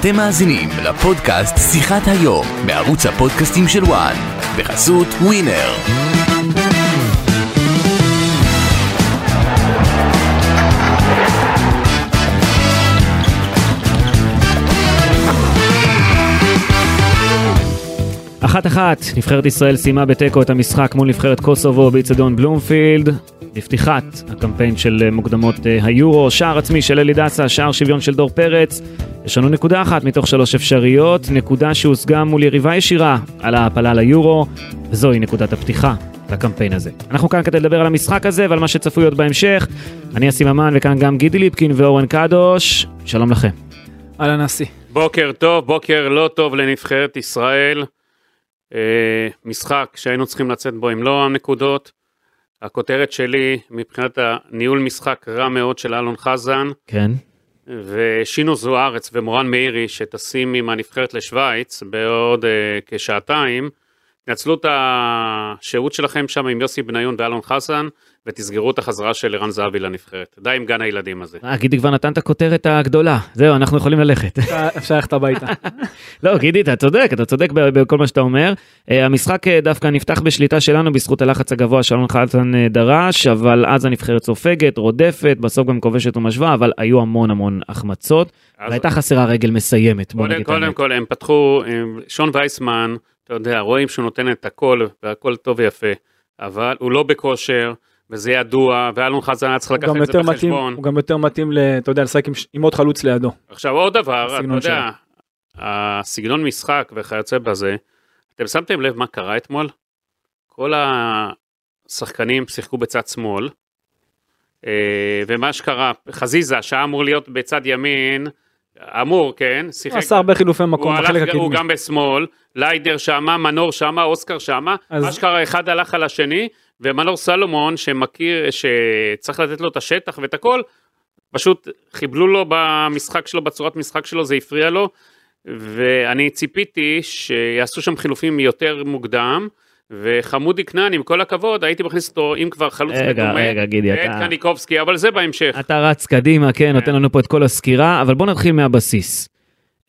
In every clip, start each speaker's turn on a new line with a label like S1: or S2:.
S1: אתם מאזינים לפודקאסט שיחת היום בערוץ הפודקאסטים של וואן בחסות ווינר.
S2: אחת אחת, נבחרת ישראל סיימה בתיקו את המשחק מול נבחרת קוסובו באיצטדיון בלומפילד. בפתיחת הקמפיין של אה, מוקדמות אה, היורו, שער עצמי של אלי דסה, שער שוויון של דור פרץ. יש לנו נקודה אחת מתוך שלוש אפשריות, נקודה שהושגה מול יריבה ישירה על ההעפלה ליורו, וזוהי נקודת הפתיחה לקמפיין הזה. אנחנו כאן כדי לדבר על המשחק הזה ועל מה שצפוי עוד בהמשך. אני אסי ממן וכאן גם גידי ליפקין ואורן קדוש, שלום לכם.
S3: אהלן אסי.
S4: בוקר טוב, בוקר לא טוב לנבחרת ישראל. אה, משחק שהיינו צריכים לצאת בו עם לא הנקודות. הכותרת שלי מבחינת הניהול משחק רע מאוד של אלון חזן,
S2: כן.
S4: ושינו זוארץ ומורן מאירי שטסים עם הנבחרת לשוויץ בעוד אה, כשעתיים. תנצלו את השהות שלכם שם עם יוסי בניון ואלון חסן ותסגרו את החזרה של ערן זהבי לנבחרת. די עם גן הילדים הזה.
S2: אה, גידי כבר נתן את הכותרת הגדולה, זהו, אנחנו יכולים ללכת.
S3: אפשר- אפשר ללכת הביתה.
S2: לא, גידי, אתה צודק, אתה צודק ב- בכל מה שאתה אומר. אה, המשחק אה, דווקא נפתח בשליטה שלנו בזכות הלחץ הגבוה שאלון חלצן אה, דרש, אבל אז הנבחרת סופגת, רודפת, בסוף גם כובשת ומשווה, אבל היו המון המון החמצות,
S4: אז-
S2: והייתה חסרה רגל מסיימת, בוא
S4: קודם,
S2: נגיד את האמת.
S4: קודם כל הם פתחו, הם- שון וייסמן, אתה יודע, רואים שהוא נותן את הכל והכל טוב ויפה, אבל הוא לא בכושר, וזה ידוע, ואלון חזן היה צריך
S3: הוא
S4: לקחת
S3: גם
S4: את זה
S3: יותר מתאים,
S4: בחשבון.
S3: הוא גם יותר מתאים, ל- אתה יודע, לשחק עם ש- עם עוד חלוץ לידו.
S4: עכשיו עוד דבר, אתה
S3: הסגנון
S4: יודע, הסגנון משחק וכיוצא בזה, אתם שמתם לב מה קרה אתמול? כל השחקנים שיחקו בצד שמאל, אה, ומה שקרה, חזיזה שהיה אמור להיות בצד ימין, אמור, כן,
S3: הוא
S4: שיחק
S3: עשה הרבה חילופי
S4: הוא
S3: מקום בחלק
S4: הלך, הוא
S3: הקדמי.
S4: גם בשמאל, ליידר שמה, מנור שמה, אוסקר שמה,
S3: אז-
S4: אשכרה אחד הלך על השני, ומנור סלומון שמכיר, שצריך לתת לו את השטח ואת הכל, פשוט חיבלו לו במשחק שלו, בצורת משחק שלו, זה הפריע לו, ואני ציפיתי שיעשו שם חילופים יותר מוקדם, וחמודי כנען, עם כל הכבוד, הייתי מכניס אותו, אם כבר חלוץ
S2: רגע, רגע, גידי,
S4: את
S2: אתה...
S4: קניקובסקי, אבל זה בהמשך.
S3: אה,
S2: אתה רץ קדימה, כן, נותן לנו פה את כל הסקירה, אבל בוא נתחיל מהבסיס.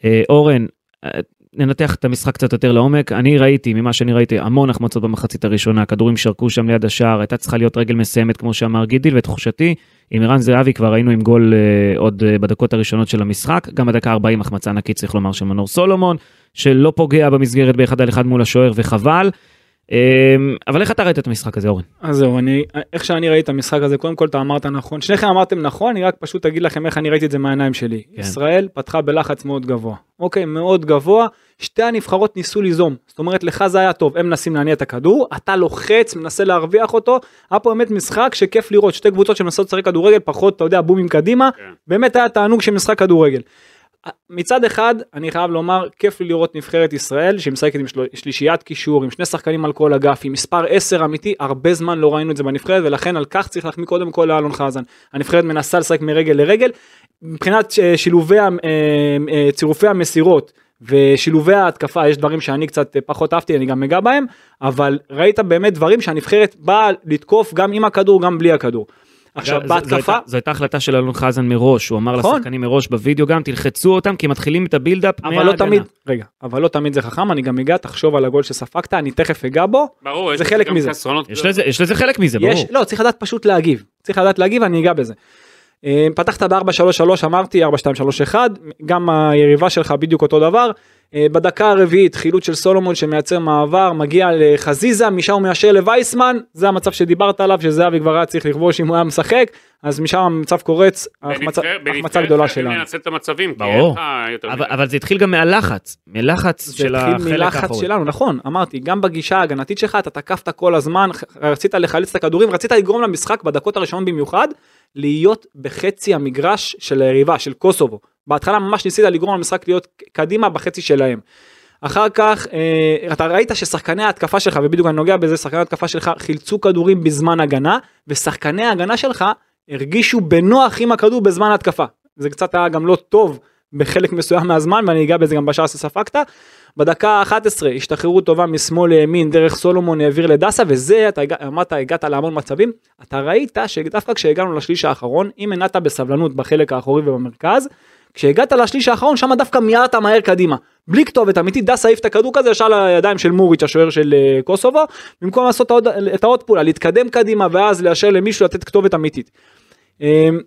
S2: אה, אורן, אה, ננתח את המשחק קצת יותר לעומק. אני ראיתי, ממה שאני ראיתי, המון החמצות במחצית הראשונה, כדורים שרקו שם ליד השער, הייתה צריכה להיות רגל מסיימת, כמו שאמר גידיל, ותחושתי, עם ערן זהבי כבר היינו עם גול אה, עוד אה, בדקות הראשונות של המשחק, גם בדקה 40 החמצה ענקית, צריך לומר, של מנור סולומון, שלא פוגע במסגרת באחד על אחד מול השוער, וחבל. אה, אבל איך אתה ראית את המשחק הזה, אורן?
S3: אז זהו, אני, איך שאני ראיתי את המשחק הזה, קודם כל אתה אמרת נכון, שניכם אמרתם נכון, אני רק פשוט אגיד לכם איך אני ראיתי את זה מהעיניים שלי.
S2: כן.
S3: ישראל פתחה בלחץ מאוד גבוה. אוקיי, מאוד גבוה, שתי הנבחרות ניסו ליזום. זאת אומרת, לך זה היה טוב, הם מנסים להניע את הכדור, אתה לוחץ, מנסה להרוויח אותו, היה פה באמת משחק שכיף לראות, שתי קבוצות שמנסות לשחק כדורגל, פחות, אתה יודע, בומים קדימה,
S4: כן.
S3: באמת היה תענוג של משחק כדורגל. מצד אחד אני חייב לומר כיף לי לראות נבחרת ישראל שמשחקת עם של... שלישיית קישור עם שני שחקנים על כל אגף עם מספר 10 אמיתי הרבה זמן לא ראינו את זה בנבחרת ולכן על כך צריך להחמיא קודם כל לאלון חזן הנבחרת מנסה לשחק מרגל לרגל מבחינת אה, שילובי ה- אה, אה, צירופי המסירות ושילובי ההתקפה יש דברים שאני קצת אה, פחות אהבתי אני גם אגע בהם אבל ראית באמת דברים שהנבחרת באה לתקוף גם עם הכדור גם בלי הכדור. עכשיו
S2: זו- זו- זו
S3: בהתקפה
S2: הייתה- זו הייתה החלטה של אלון חזן מראש, הוא אמר
S3: נכון.
S2: לשחקנים מראש בווידאו גם, תלחצו אותם כי מתחילים את הבילדאפ
S3: אבל לא תמיד, רגע, אבל לא תמיד זה חכם, אני גם אגע, תחשוב על הגול שספגת, אני תכף אגע בו.
S4: ברור, יש
S3: זה חלק
S4: גם
S3: מזה.
S4: חסרונות.
S2: יש לזה- יש לזה חלק מזה, ברור.
S3: יש, לא, צריך לדעת פשוט להגיב. צריך לדעת להגיב, אני אגע בזה. אה, פתחת ב-4-3-3, אמרתי 4-2-3-1, גם היריבה שלך בדיוק אותו דבר. אה, בדקה הרביעית, חילוץ של סולומון שמייצר מעבר, מגיע לחזיזה, משם הוא מיישר לווייסמן, זה המצב שדיברת עליו, שזהבי כבר היה צריך לכבוש אם הוא היה משחק, אז משם המצב קורץ, החמצה
S4: בנבחרת-
S3: החמצה גדולה
S4: בנבחרת חייבים
S3: שלנו.
S4: לנצל את המצבים, כי
S2: ברור.
S4: אין לך יותר
S2: אבל-
S4: מדי.
S2: אבל זה התחיל גם מהלחץ, מלחץ של
S3: זה התחיל
S2: החלק
S3: מלחץ
S2: האחורי.
S3: שלנו, נכון, אמרתי, גם בגישה ההגנתית שלך, אתה תקפת כל הזמן, ח- רצית לחלץ את הכדורים, רצית לגרום למשחק בדקות הראשונות במיוחד, להיות בחצי המגרש של היריבה, של קוסובו. בהתחלה ממש ניסית לגרום למשחק להיות ק- קדימה בחצי שלהם. אחר כך, אה, אתה ראית ששחקני ההתקפה שלך, ובדיוק אני נוגע בזה, שחקני ההתקפה שלך חילצו כדורים בזמן הגנה, ושחקני ההגנה שלך הרגישו בנוח עם הכדור בזמן ההתקפה. זה קצת היה גם לא טוב בחלק מסוים מהזמן, ואני אגע בזה גם בשעה שספגת. בדקה ה-11 השתחררות טובה משמאל לימין דרך סולומון העביר לדסה וזה אתה הגע- אמרת הגעת להמון מצבים אתה ראית שדווקא כשהגענו לשליש האחרון אם הנעת בסבלנות בחלק האחורי ובמרכז כשהגעת לשליש האחרון שם דווקא מיהרת מהר קדימה. בלי כתובת אמיתית דסה העיף את הכדור כזה ישר לידיים של מוריץ' השוער של אה, קוסובו במקום לעשות את העוד- את העוד פעולה להתקדם קדימה ואז לאשר למישהו לתת כתובת אמיתית. אמ,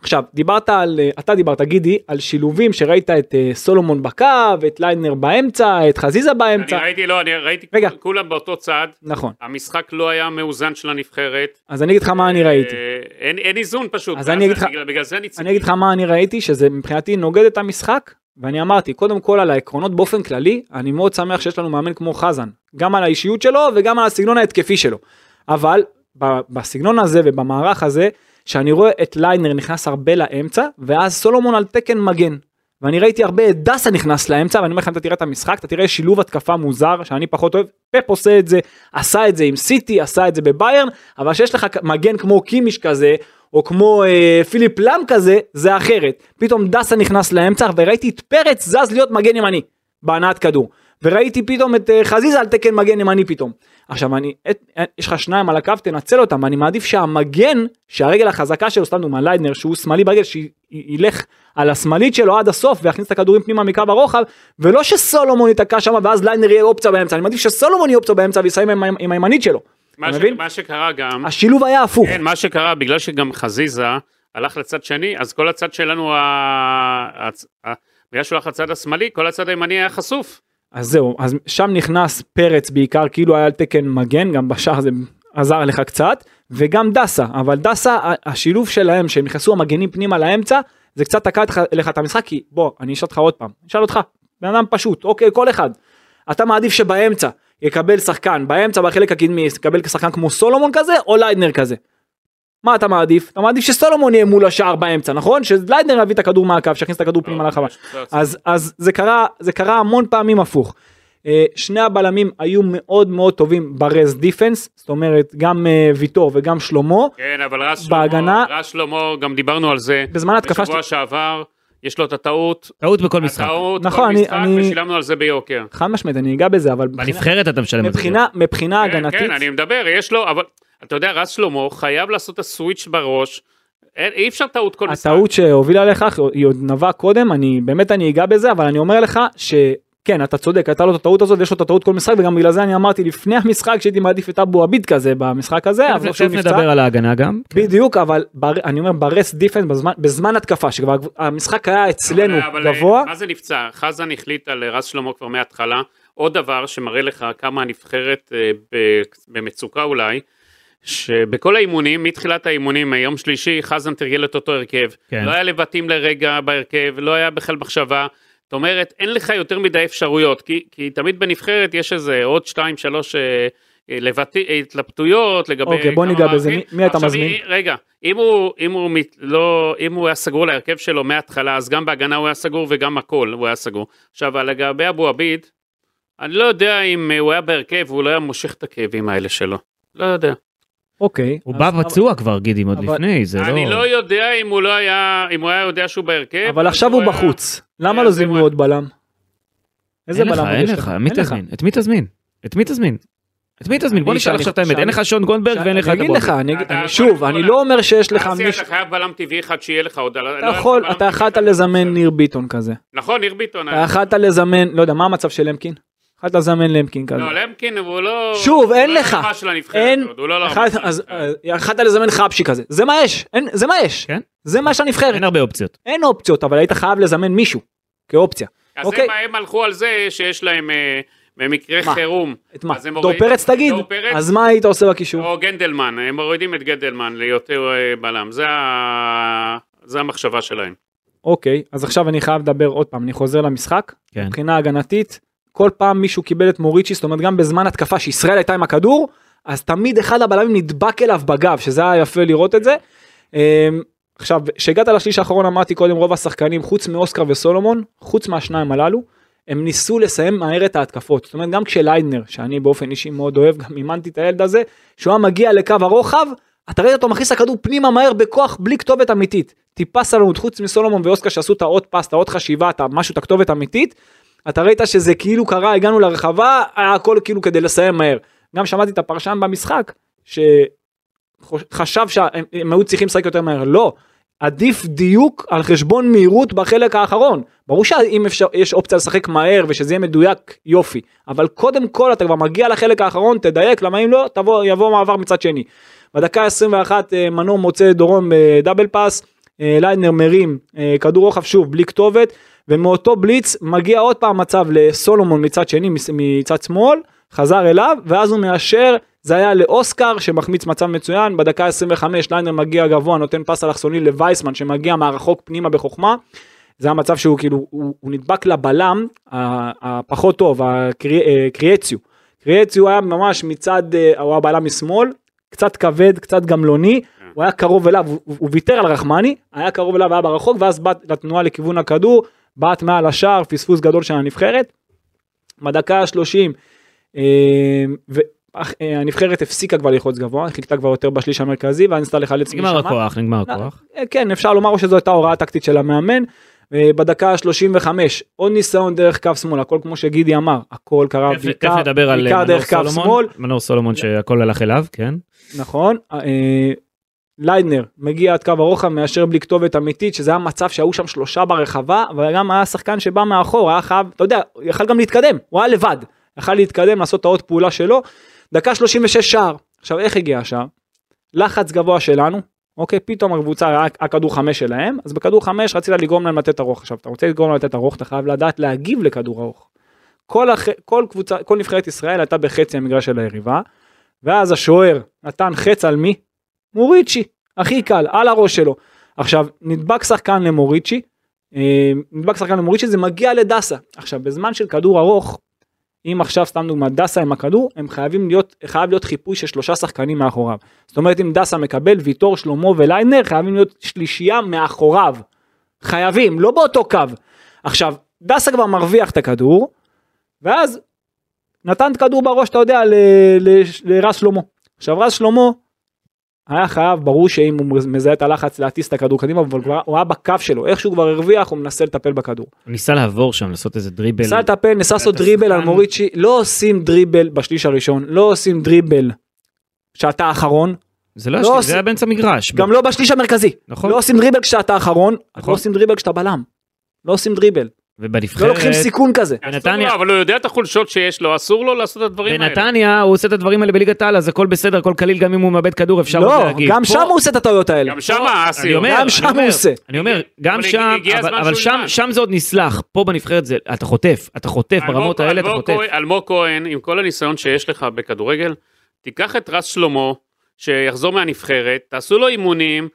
S3: עכשיו דיברת על אה, אתה דיברת גידי על שילובים שראית את אה, סולומון בקו את ליינר באמצע את חזיזה
S4: אני
S3: באמצע
S4: ראיתי, לא, אני ראיתי
S3: רגע.
S4: כולם באותו צד,
S3: נכון
S4: המשחק לא היה מאוזן של הנבחרת.
S3: אז אני אגיד לך מה אני ראיתי
S4: אה, אין אין איזון פשוט.
S3: אז אני אגיד לך-
S4: בגלל- בגלל זה אני ציפיתי.
S3: אני אגיד לך מה אני ראיתי שזה מבחינתי נוגד את המשחק ואני אמרתי קודם כל על העקרונות באופן כללי אני מאוד שמח שיש לנו מאמן כמו חזן גם על האישיות שלו וגם על הסגנון ההתקפי שלו אבל ב- בסגנון הזה ובמערך הזה שאני רואה את ליינר נכנס הרבה לאמצע ואז סולומון על תקן מגן. ואני ראיתי הרבה את דסה נכנס לאמצע ואני אומר לך אם אתה תראה את המשחק אתה תראה שילוב התקפה מוזר שאני פחות אוהב פפ עושה את זה עשה את זה עם סיטי עשה את זה בביירן אבל שיש לך מגן כמו קימיש כזה או כמו אה, פיליפ לאם כזה זה אחרת פתאום דסה נכנס לאמצע וראיתי את פרץ זז להיות מגן ימני בהנעת כדור וראיתי פתאום את אה, חזיזה על תקן מגן ימני פתאום. עכשיו אני את, אה, יש לך שניים על הקו תנצל אותם אני מעדיף שהמגן שהרגל החזקה שלו סתם דוגמא ליידנר שהוא שמאלי ברגל שילך על השמאלית שלו עד הסוף ויכניס את הכדורים פנימה מקו הרוחב ולא שסולומון ייתקע שם ואז ליידנר יהיה אופציה באמצע אני מעדיף שסולומון יהיה אופציה באמצע ויסיים עם, ה- עם הימנית שלו.
S4: מה
S3: אתה
S4: ש-
S3: מבין?
S4: מה שקרה גם,
S3: השילוב היה הפוך.
S4: כן, מה שקרה, בגלל שגם חזיזה הלך לצד שני, אז כל הצד שלנו, ה- הצ- ה- בגלל שהוא הלך לצד השמאלי, כל הצד הימני היה חשוף.
S3: אז זהו, אז שם נכנס פרץ בעיקר, כאילו היה על תקן מגן, גם בשער זה עזר לך קצת, וגם דסה, אבל דסה, ה- השילוב שלהם, שהם נכנסו המגנים פנימה לאמצע, זה קצת תקע אתך- לך את המשחק, כי בוא, אני אשאל אותך עוד פעם, אני אשאל אותך, בן אדם פשוט, אוקיי, כל אחד. אתה מעדיף שבאמצע יקבל שחקן, באמצע בחלק הקדמי יקבל שחקן כמו סולומון כזה, או ליידנר כזה. מה אתה מעדיף? אתה מעדיף שסולומון יהיה מול השער באמצע, נכון? שליידנר יביא את הכדור מהקו, שיכניס את הכדור
S4: לא,
S3: פנימה לרחבה. אז אז זה קרה זה קרה המון פעמים הפוך. אה, שני הבלמים היו מאוד מאוד טובים ברז דיפנס זאת אומרת גם אה, ויטור וגם שלמה
S4: כן, אבל רז שלמה,
S3: בהגנה-
S4: רז שלמה, גם דיברנו על זה.
S3: בזמן ההתקפה
S4: בשבוע שעבר, יש לו את הטעות,
S2: טעות בכל משחק.
S4: הטעות,
S3: נכון,
S4: כל
S3: אני-
S4: משחק,
S3: אני-
S4: ושילמנו על זה ביוקר.
S3: חד משמעית אני אגע בזה אבל מבחינה-
S2: בנבחרת אתה משלם את זה.
S3: מבחינה מבחינה
S4: כן,
S3: הגנתית
S4: כן, אני מדבר, יש לו, אבל אתה יודע, רז שלמה חייב לעשות את הסוויץ' בראש. אין- אי אפשר טעות כל משחק.
S3: הטעות שהובילה לכך היא עוד נבעה קודם אני באמת אני אגע בזה אבל אני אומר לך שכן אתה צודק הייתה לו את הטעות הזאת ויש לו את הטעות כל משחק וגם בגלל זה אני אמרתי לפני המשחק שהייתי מעדיף את אבו עביד כזה במשחק הזה אבל
S2: תכף
S3: כשהוא נפצע
S2: נדבר על ההגנה גם.
S3: כן. בדיוק אבל בר- אני אומר ברס דיפנס בזמן בזמן התקפה שכבר המשחק היה אצלנו
S4: אבל, אבל,
S3: גבוה
S4: אה, מה זה נפצע? חזן החליט על אה, רז שלמה כבר מההתחלה. עוד דבר שמראה לך כמה הנבחרת אה, ב- במצוקה אולי, שבכל האימונים, מתחילת האימונים, היום שלישי, חזן תרגל את אותו הרכב.
S2: כן.
S4: לא היה לבטים לרגע בהרכב, לא היה בכלל מחשבה. זאת אומרת, אין לך יותר מדי אפשרויות, כי, כי תמיד בנבחרת יש איזה עוד שתיים, שלוש אה, אה, לבט... אה, התלבטויות לגבי...
S3: אוקיי, בוא
S4: כמה
S3: ניגע בזה.
S4: מערכים.
S3: מי- מי אתה
S4: עכשיו,
S3: מזמין?
S4: אה, רגע, אם הוא, אם, הוא מת, לא, אם הוא היה סגור להרכב שלו מההתחלה, אז גם בהגנה הוא היה סגור וגם הכל הוא היה סגור. עכשיו, לגבי אבו עביד, אני לא יודע אם אה, הוא היה בהרכב, הוא לא היה מושך את הכאבים האלה שלו. לא יודע.
S3: אוקיי.
S2: הוא
S3: אז-
S2: בא
S3: אבל-
S2: פצוע כבר גידים עוד
S3: אבל-
S2: לפני זה
S4: אני לא יודע אם הוא לא היה, אם הוא היה יודע שהוא בהרכב.
S3: אבל
S4: אז
S3: עכשיו הוא
S4: היה-
S3: בחוץ. למה
S4: היה
S3: לא
S4: אה, זה
S3: זימנו
S4: מה-
S3: עוד בלם? איזה
S2: אין
S3: בלם
S2: לך,
S3: עוד
S2: אין
S3: יש
S2: לך, מי תזמין? את מי תזמין? את מי תזמין? את מי תזמין? בוא
S3: אני-
S2: נשאל
S3: שאני-
S2: עכשיו את האמת,
S3: שאני-
S2: אין לך שון גולדברג ואין לך
S3: אני
S2: את
S3: אגיד
S2: הבובי.
S3: לך, אני אגיד-
S4: אתה-
S3: אני- שוב,
S4: קודם כל,
S3: אני לא אומר שיש לך
S4: אסי,
S3: מישהו,
S4: אה, אתה חייב בלם טבעי אחד שיהיה לך עוד. לא
S3: אתה
S4: היה לך
S3: יכול,
S4: בלם
S3: אתה
S4: טבעי
S3: יכלת
S4: אחד.
S3: לזמן ניר ביטון כזה,
S4: נכון, ניר ביטון.
S3: אתה יכלת לזמן, לא יודע, מה המצב של למקין? יכלת לזמן למקין כזה,
S4: לא, למקין הוא לא...
S3: שוב,
S4: הוא
S3: אין
S4: לא
S3: לך.
S4: לרמה של הנבחרת
S3: אין,
S4: עוד, הוא לא לרמה
S3: יכלת-
S4: של
S3: אז-
S4: הנבחרת.
S3: אז יכלת לזמן חבשי כזה, זה מה יש, אין- זה מה יש,
S2: כן.
S3: זה מה שהנבחרת,
S2: אין הרבה אופציות.
S3: אין אופציות, אבל היית חייב לזמן מישהו, כאופציה,
S4: אז
S3: אוקיי.
S4: הם- הם הלכו על זה שיש להם אה, במקרה
S3: מה?
S4: חירום.
S3: את מה,
S4: אז הם
S3: דור
S4: מורידים-
S3: פרץ תגיד,
S4: דור פרץ
S3: אז מה היית עושה בקישור?
S4: או גנדלמן, הם מורידים את גנדלמן ליותר אה, בלם. זה ה- זה המחשבה שלהם.
S3: אוקיי, אז עכשיו אני חייב לדבר עוד פעם, אני חוזר למשחק.
S2: כן.
S3: מבחינה הגנתית, כל פעם מישהו קיבל את מוריצ'י, זאת אומרת גם בזמן התקפה שישראל הייתה עם הכדור, אז תמיד אחד הבלמים נדבק אליו בגב, שזה היה יפה לראות את זה. אמ, עכשיו, כשהגעת לשליש האחרון אמרתי קודם רוב השחקנים, חוץ מאוסקר וסולומון, חוץ מהשניים הללו, הם ניסו לסיים מהר את ההתקפות. זאת אומרת, גם כשליידנר, שאני באופן אישי מאוד אוהב, גם אימנתי את הילד הזה, שהוא היה מגיע לקו הרוחב, אתה ראית אותו מכניס את הכדור פנימה מהר בכוח, בלי כתובת אמיתית. טיפה סלומות, חוץ מסולומון ואוסקר שעשו את העוד פס, את העוד חשיבה, את ה- משהו, את הכתובת אמיתית, אתה ראית שזה כאילו קרה, הגענו לרחבה, היה הכל כאילו כדי לסיים מהר. גם שמעתי את הפרשן במשחק, שחשב שהם הם היו צריכים לשחק יותר מהר, לא. עדיף דיוק על חשבון מהירות בחלק האחרון. ברור שאם אפשר, יש אופציה לשחק מהר ושזה יהיה מדויק, יופי. אבל קודם כל אתה כבר מגיע לחלק האחרון, תדייק, למה אם לא, תבוא, יבוא מעבר מצד שני. בדקה ה-21 מנור מוצא את דורון בדאבל פאס, אה, ליידנר מרים אה, כדור רוחב שוב בלי כתובת, ומאותו בליץ מגיע עוד פעם מצב לסולומון מצד שני, מס- מצד שמאל, חזר אליו, ואז הוא מאשר, זה היה לאוסקר שמחמיץ מצב מצוין, בדקה ה-25 ליינר מגיע גבוה, נותן פס אלכסוני לווייסמן שמגיע מהרחוק פנימה בחוכמה. זה המצב שהוא כאילו, הוא, הוא נדבק לבלם ה- הפחות טוב, הקרי- אה, קריאציו. קריאציו היה ממש מצד, אה, הוא היה בלם משמאל, קצת כבד, קצת גמלוני, הוא היה קרוב אליו, הוא, הוא ויתר על רחמני, היה קרוב אליו, היה ברחוק, ואז בעט לתנועה לכיוון הכדור, בעט מעל השער, פספוס גדול של הנבחרת. בדקה אה, ה-30, והנבחרת אה, הפסיקה כבר ללחוץ גבוה, חיכתה כבר יותר בשליש המרכזי, ואז ניסתה לחלץ
S2: נגמר הכוח, נגמר הכוח.
S3: אה, כן, אפשר לומר או שזו הייתה הוראה טקטית של המאמן. אה, בדקה ה-35, עוד ניסיון דרך קו שמאל, הכל כמו שגידי אמר, הכל קרה
S2: תכף- תכף
S3: בעיקר,
S2: נדבר על
S3: בעיקר
S2: אה, מנור
S3: דרך קו שמאל,
S2: סולומון, מנור סולומון שהכל הלך אליו, כן?
S3: נכון. אה, ליידנר מגיע עד קו הרוחב מאשר בלי כתובת אמיתית שזה היה מצב שהיו שם שלושה ברחבה אבל גם היה שחקן שבא מאחור היה חייב אתה יודע הוא יכל גם להתקדם הוא היה לבד יכל להתקדם לעשות את העוד פעולה שלו דקה 36 שער עכשיו איך הגיע השער לחץ גבוה שלנו אוקיי פתאום הקבוצה היה הכדור חמש שלהם אז בכדור חמש רצית לגרום להם לתת ארוך עכשיו אתה רוצה לגרום להם לתת ארוך אתה חייב לדעת להגיב לכדור ארוך. כל, הח... כל קבוצה כל נבחרת ישראל הייתה בחצי המגרש של היריבה ואז השוער נתן חץ על מי? מוריצ'י, הכי קל, על הראש שלו. עכשיו, נדבק שחקן למוריצ'י, אה, נדבק שחקן למוריצ'י, זה מגיע לדסה. עכשיו, בזמן של כדור ארוך, אם עכשיו, סתם דוגמא, דסה עם הכדור, הם חייבים להיות, חייב להיות חיפוי של שלושה שחקנים מאחוריו. זאת אומרת, אם דסה מקבל, ויטור, שלמה וליידנר, חייבים להיות שלישייה מאחוריו. חייבים, לא באותו קו. עכשיו, דסה כבר מרוויח את הכדור, ואז נתן את הכדור בראש, אתה יודע, ל- ל- לרז שלמה. עכשיו רז שלמה היה חייב, ברור שאם הוא מזהה את הלחץ להטיס את הכדור קדימה, אבל כבר, הוא היה בקו שלו, איך שהוא כבר הרוויח, הוא מנסה לטפל בכדור.
S2: הוא ניסה לעבור שם, לעשות איזה דריבל.
S3: ניסה לטפל, ניסה לעשות
S2: אתה
S3: דריבל על
S2: שחקן.
S3: מוריצ'י, לא עושים דריבל בשליש הראשון, לא עושים דריבל כשאתה האחרון,
S2: זה לא
S3: לא
S2: השליש,
S3: עושה-
S2: זה היה באמצע מגרש.
S3: גם לא בשליש המרכזי.
S2: נכון.
S3: לא עושים דריבל כשאתה האחרון,
S2: נכון.
S3: לא עושים דריבל כשאתה בלם. לא עושים דריבל, לא
S2: ובנבחרת,
S3: לוקחים סיכון כזה.
S2: בנתניה-
S4: לא, אבל הוא יודע את החולשות שיש לו, אסור לו לעשות את הדברים האלה.
S2: בנתניה הוא עושה את הדברים האלה בליגת העל, אז הכל בסדר, הכל קליל, גם אם הוא מאבד כדור אפשר עוד
S3: לא,
S2: להגיב.
S3: גם
S2: פה-
S3: שם הוא עושה את הטעויות האלה.
S4: גם שמה, אסי,
S2: אני אומר,
S3: גם
S2: אני
S3: שם
S2: אומר,
S3: הוא עושה.
S2: אני אומר, גם
S4: אבל
S2: שם,
S4: הגיע
S2: אבל
S4: הזמן
S2: אבל
S4: שהוא
S2: שם-
S4: ילמד.
S2: שם זה עוד נסלח, פה בנבחרת זה, אתה חוטף, אתה חוטף,
S4: אלמוג-
S2: ברמות האלה אתה
S4: אלמוג
S2: חוטף.
S4: כהן- אלמוג כהן, עם כל הניסיון שיש לך בכדורגל, תיקח את רז שלמה, שיחזור מהנבחרת, תעשו לו אימונים,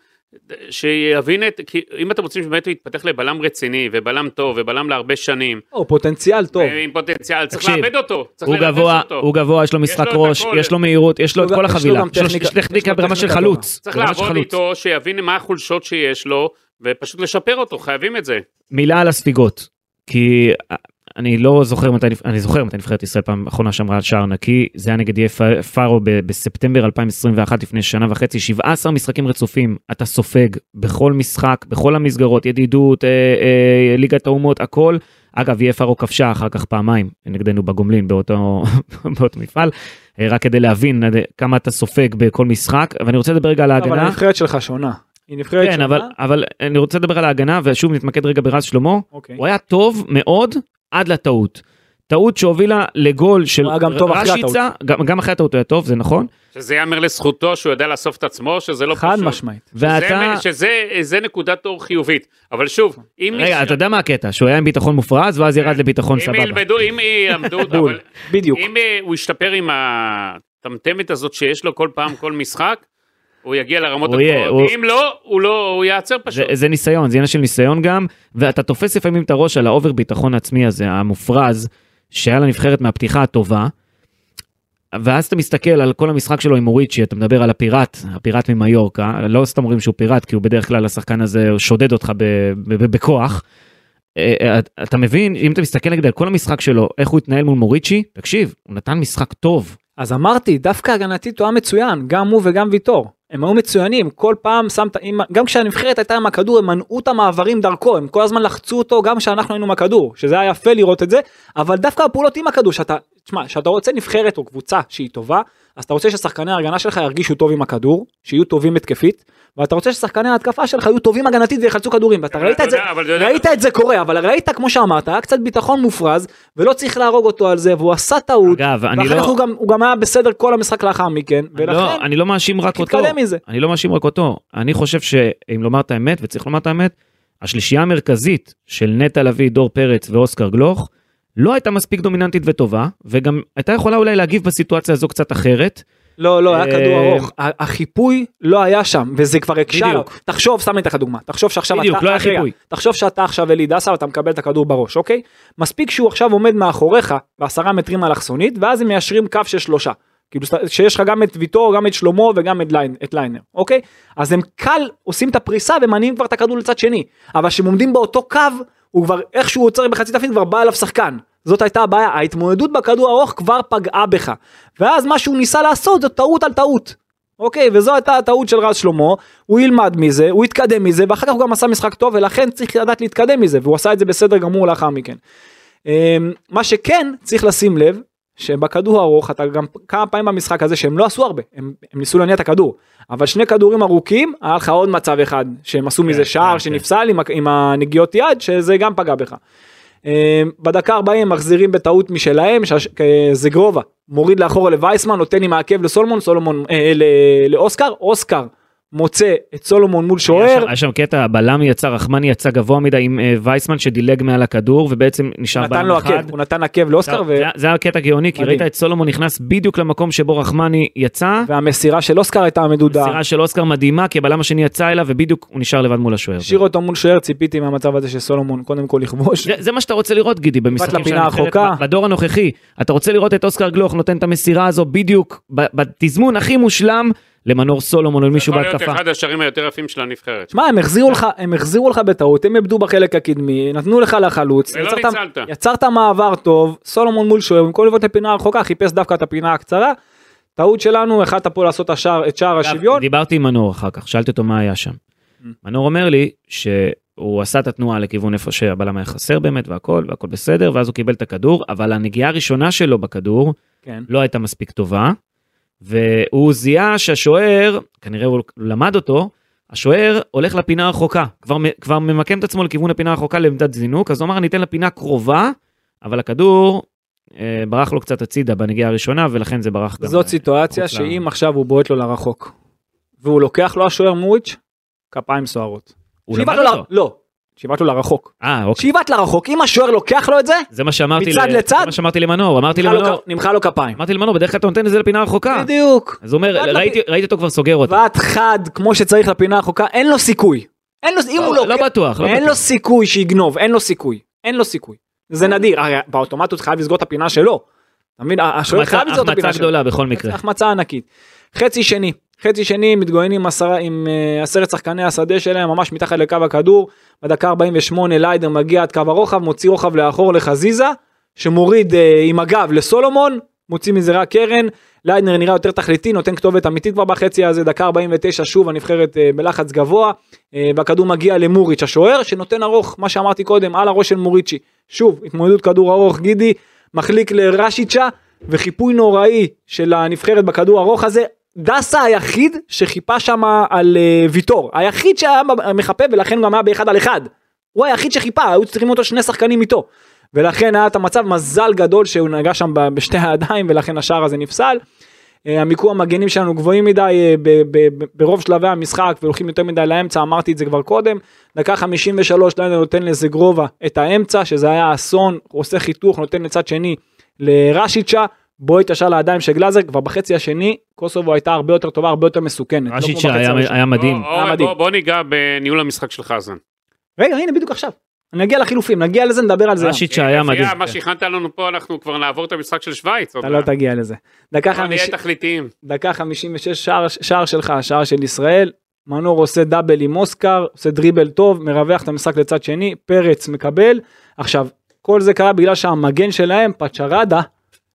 S4: שיבין את, כי אם אתם רוצים שבאמת הוא יתפתח לבלם רציני, ובלם טוב, ובלם להרבה שנים,
S3: או, לא, פוטנציאל טוב.
S4: עם פוטנציאל, צריך
S2: תקשיב,
S4: לאבד אותו, צריך
S2: הוא
S4: לנפץ
S2: גבוה,
S4: אותו.
S2: הוא גבוה, יש לו משחק
S4: לו את
S2: ראש,
S4: הכל.
S2: יש לו מהירות, יש לו את
S3: הוא
S2: כל
S3: גם- יש לו
S2: החבילה.
S3: גם
S2: יש לו-
S3: טכניקה-
S2: יש טכניקה
S3: יש לו
S2: ברמה של
S3: טכניקה
S2: חלוץ.
S4: צריך
S2: ברמה של
S4: לעבוד
S2: חלוץ.
S4: איתו, שיבין מה החולשות שיש לו, ופשוט לשפר אותו, חייבים את זה.
S2: מילה על הספיגות, כי אה, אני לא זוכר מתי, נבח- אני זוכר מתי נבחרת ישראל פעם האחרונה שמרה על שער נקי, זה היה נגד יהיה פ- פארו ב- בספטמבר 2021, לפני שנה וחצי, 17 משחקים רצופים, אתה סופג בכל משחק, בכל המסגרות, ידידות, אה, אה, ליגת האומות, הכל. אגב, יהיה פארו כבשה אחר כך פעמיים נגדנו בגומלין באותו, באותו מפעל, אה, רק כדי להבין עד כמה אתה סופג בכל משחק, ואני רוצה לדבר רגע על ההגנה.
S3: אבל הנבחרת שלך שונה. היא נבחרת שונה.
S2: כן, אבל, אבל אני רוצה לדבר על ההגנה, ושוב נתמקד רגע ברז שלמה.
S3: אוקיי.
S2: הוא היה טוב מאוד עד לטעות. טעות שהובילה לגול של
S3: הוא היה גם טוב אחרי
S2: רשיצה, גם, גם אחרי הטעות הוא היה טוב, זה נכון.
S4: שזה ייאמר לזכותו, שהוא יודע לאסוף את עצמו, שזה לא
S3: חד
S4: פשוט.
S3: משמעית.
S2: ואתה,
S4: שזה, שזה, שזה נקודת אור חיובית. אבל שוב, אם...
S2: רגע, אתה יודע מה הקטע? שהוא היה עם ביטחון מופרז, ואז ירד לביטחון
S4: אם
S2: סבבה.
S4: ילמדו, אם ילמדו, אבל
S3: נכון, בול. בדיוק.
S4: אם אה, הוא ישתפר עם הטמטמת הזאת שיש לו כל פעם, כל משחק, הוא יגיע לרמות
S2: הוא יהיה,
S4: הגבוהות.
S2: הוא-
S4: אם לא, הוא לא, הוא ייעצר
S2: זה,
S4: פשוט.
S2: זה ניסיון, זה עניין של ניסיון גם, ואתה תופס לפעמים את הראש על האובר ביטחון העצמי הזה, המופרז, שהיה לנבחרת מהפתיחה הטובה, ואז אתה מסתכל על כל המשחק שלו עם אוריצ'י, אתה מדבר על הפיראט, הפיראט ממיורקה, לא סתם אומרים שהוא פיראט, כי הוא בדרך כלל השחקן הזה שודד אותך ב- ב- ב- בכוח. אה, אה, אתה מבין, אם אתה מסתכל נגיד על כל המשחק שלו, איך הוא התנהל מול מוריצ'י, תקשיב, הוא נתן משחק טוב.
S3: אז אמרתי, דווקא הגנתית הוא היה מצוין, גם הוא וגם ויטור. הם היו מצוינים, כל פעם שמת, אם- גם כשהנבחרת הייתה עם הכדור, הם מנעו את המעברים דרכו, הם כל הזמן לחצו אותו גם כשאנחנו היינו עם הכדור, שזה היה יפה לראות את זה, אבל דווקא הפעולות עם הכדור, שאתה, תשמע, כשאתה רוצה נבחרת או קבוצה שהיא טובה, אז אתה רוצה ששחקני ההגנה שלך ירגישו טוב עם הכדור, שיהיו טובים התקפית, ואתה רוצה ששחקני ההתקפה שלך יהיו טובים הגנתית ויחלצו כדורים, ואתה
S4: אבל
S3: ראית
S4: אתה
S3: את זה,
S4: יודע, אבל אתה יודע-
S3: ראית את זה קורה, אבל ראית, כמו שאמרת, היה קצת ביטחון מופרז, ולא צריך להרוג אותו על זה, והוא עשה טעות,
S2: אגב, אני
S3: ואחר
S2: לא-
S3: כך הוא גם- הוא גם היה בסדר כל המשחק לאחר מכן, ולכן,
S2: לא, אני לא מאשים רק אותו.
S3: תתקדם מזה.
S2: אני לא מאשים רק אותו. אני חושב שאם לומר את האמת, וצריך לומר את האמת, השלישייה המרכזית של נטע לביא, דור פרץ ואוסקר גלוך, לא הייתה מספיק דומיננטית וטובה, וגם הייתה יכולה אולי להגיב בסיטואציה הזו קצת אחרת.
S3: לא, לא, היה
S2: אה,
S3: כדור ארוך. ה- החיפוי לא היה שם, וזה כבר הקשה לו.
S2: בדיוק.
S3: תחשוב, שם לי את הדוגמה. תחשוב שעכשיו
S2: בדיוק,
S3: אתה...
S2: לא היה
S3: רגע,
S2: חיפוי.
S3: תחשוב שאתה עכשיו אלי דסה ואתה מקבל את הכדור בראש, אוקיי? מספיק שהוא עכשיו עומד מאחוריך, בעשרה מטרים אלכסונית, ואז הם מיישרים קו של שלושה. כאילו ס- שיש לך גם את ויטור, גם את שלמה וגם את, ליין, את ליינר, אוקיי? אז הם קל עושים את הפריסה ומניעים כבר את הכדור לצד שני. אבל כשהם עומדים באותו קו, הוא כבר איכשהו עוצר בחצי תפקיד, כבר בא אליו שחקן. זאת הייתה הבעיה, ההתמודדות בכדור הארוך כבר פגעה בך. ואז מה שהוא ניסה לעשות זה טעות על טעות. אוקיי, וזו הייתה הטעות של רז שלמה, הוא ילמד מזה, הוא יתקדם מזה, ואחר כך הוא גם עשה משחק טוב, ולכן צריך לדעת להתקדם מזה, והוא עשה את זה בסדר גמור לאחר מכן. אמ, מה שכן צריך לשים לב, שבכדור הארוך, אתה גם כמה פעמים במשחק הזה שהם לא עשו הרבה, הם, הם ניסו להניע את הכדור, אבל שני כדורים ארוכים, היה לך עוד מצב אחד, שהם עשו מזה שער
S2: כן.
S3: שנפסל עם, ה- עם הנגיעות יד, שזה גם פגע בך. אה, בדקה 40 הם מחזירים בטעות משלהם, שהש- אה, זגרובה מוריד לאחורה לווייסמן, נותן עם העקב לסולומון, סולומון אה, ל- לאוסקר, אוסקר מוצא את סולומון מול
S2: היה
S3: שוער,
S2: שם- היה שם קטע, בלם יצא, רחמני יצא גבוה מדי עם אה, וייסמן שדילג מעל הכדור, ובעצם נשאר
S3: נתן
S2: בעם
S3: לו
S2: אחד.
S3: עקב, הוא נתן עקב לאוסקר, ו-
S2: זה היה- זה היה קטע גאוני, כי
S3: מדהים.
S2: ראית את סולומון נכנס בדיוק למקום שבו רחמני יצא.
S3: והמסירה של אוסקר הייתה המדודה.
S2: מסירה של אוסקר מדהימה, כי הבלם השני יצא אליו, ובדיוק הוא נשאר לבד מול השוער.
S3: השאיר אותו מול שוער, ציפיתי מהמצב הזה שסולומון קודם כל יכבוש.
S2: זה, זה מה שאתה רוצה לראות גידי במשחקים של
S3: לפינה
S2: הנבחרת
S3: הרחוקה.
S2: ב- בדור הנוכחי אתה רוצה לראות את אוסקר גלוך נותן את המסירה הזו בדיוק ב- בתזמון הכי מושלם למנור סולומון או למישהו
S4: יכול להיות
S2: בהתקפה.
S4: אחד השערים היותר יפים של הנבחרת.
S3: שמע, הם החזירו לך, הם החזירו לך בטעות, הם איבדו בחלק הקדמי, נתנו לך לחלוץ,
S4: ולא
S3: יצרת-
S4: ניצלת.
S3: יצרת מעבר טוב, סולומון מול שוער, במקום לבנות לפינה הרחוקה, חיפש דווקא את הפינה הקצרה. טעות שלנו, החלטת פה לעשות את השער- את שער השוויון.
S2: דיברתי עם מנור אחר כך שאלתי אותו מה היה שם.
S4: Mm.
S2: מנור אומר לי שהוא עשה את התנועה לכיוון איפה שהבלם היה חסר באמת והכל והכל בסדר ואז הוא קיבל את הכדור אבל הנגיעה הראשונה שלו בכדור
S3: כן.
S2: לא הייתה מספיק טובה, והוא זיהה שהשוער, כנראה הוא למד אותו, השוער הולך לפינה הרחוקה, כבר, מ- כבר ממקם את עצמו לכיוון הפינה הרחוקה לעמדת זינוק, אז הוא אמר אני אתן לפינה קרובה, אבל הכדור אה, ברח לו קצת הצידה בנגיעה הראשונה, ולכן זה ברח גם. אה,
S3: זאת סיטואציה
S2: חוץ ל-
S3: שאם עכשיו הוא בועט לו לרחוק, והוא לוקח לו השוער מויץ', כפיים סוערות.
S2: הוא
S3: שיבעט
S2: למד
S3: לו ל-
S2: אותו.
S3: לא, שיבעט לו לרחוק.
S2: אה, אוקיי.
S3: שיבעט לרחוק, אם השוער לוקח לו את זה,
S2: זה מה שאמרתי,
S3: מצד
S2: ל-
S3: לצד? לא-
S2: זה מה שאמרתי למנור, אמרתי
S3: נמחא לו
S2: למנור,
S3: כ- נמחא לו כפיים.
S2: אמרתי למנור, בדרך כלל אתה נותן את זה לפינה הרחוקה.
S3: בדיוק.
S2: אז הוא אומר,
S3: בדיוק.
S2: ראיתי ראיתי אותו כבר סוגר אותה.
S3: ועד חד כמו שצריך לפינה הרחוקה, אין לו סיכוי. אין לו, אם הוא
S2: לא
S3: לא,
S2: לא בטוח, לא
S3: אין
S2: בטוח.
S3: לו סיכוי שיגנוב, אין לו סיכוי. אין לו סיכוי. זה נדיר, הרי באוטומט הוא חייב לסגור את הפינה שלו. אתה מבין, השוער
S2: החמצה
S3: חייב לסגור את הפינה
S2: החמצה
S3: שלו.
S2: גדולה בכל מקרה.
S3: החמצה ענקית. חצי שני, חצי שני מתגוננים עם עשרה- עם אה, עשרת שחקני השדה שלהם ממש מתחת לקו הכדור. בדקה 48 ליידר מגיע עד קו הרוחב, מוציא רוחב לאחור לחזיזה, שמוריד אה, עם הגב לסולומון, מוציא מזה רק קרן. ליידנר נראה יותר תכליתי, נותן כתובת אמיתית כבר בחצי הזה, דקה 49 שוב הנבחרת אה, בלחץ גבוה, אה, והכדור מגיע למוריץ' השוער, שנותן ארוך, מה שאמרתי קודם, על הראש של מוריצ'י. שוב, התמודדות כדור ארוך, גידי, מחליק לרשיצ'ה, וחיפוי נוראי של הנבחרת בכדור הארוך הזה. דסה היחיד שחיפה שם על אה, ויטור, היחיד שהיה מחפה ולכן הוא גם היה באחד על אחד. הוא היחיד שחיפה, היו צריכים אותו שני שחקנים איתו. ולכן היה את המצב מזל גדול שהוא נגע שם ב- בשתי הידיים ולכן השער הזה נפסל. אה, המיקום המגנים שלנו גבוהים מדי אה, ב- ב- ב- ברוב שלבי המשחק והולכים יותר מדי לאמצע אמרתי את זה כבר קודם. דקה 53 ליינר נותן לזגרובה את האמצע שזה היה אסון עושה חיתוך נותן לצד שני לרשיצ'ה בועט ישר לידיים של גלאזר כבר בחצי השני קוסובו הייתה הרבה יותר טובה הרבה יותר מסוכנת. לא כמו
S2: רשיצ'ה
S3: בחצי
S2: היה-
S3: הראשון.
S2: היה מדהים.
S4: בוא-
S3: היה מדהים.
S4: בוא- בוא ניגע בניהול המשחק של חזן.
S3: רגע הנה בדיוק עכשיו. נגיע לחילופים נגיע לזה נדבר על זה.
S2: רשיצ'ה היה
S4: לפי
S2: מדהים.
S4: מה שהכנת לנו פה אנחנו כבר נעבור את המשחק של שווייץ.
S3: אתה לא תגיע לזה. דקה
S4: נהיה
S3: 50
S4: תכליתיים.
S3: דקה 56 שער, שער שלך שער של ישראל מנור עושה דאבל עם אוסקר עושה דריבל טוב מרווח את המשחק לצד שני פרץ מקבל עכשיו כל זה קרה בגלל שהמגן שלהם פצ'רדה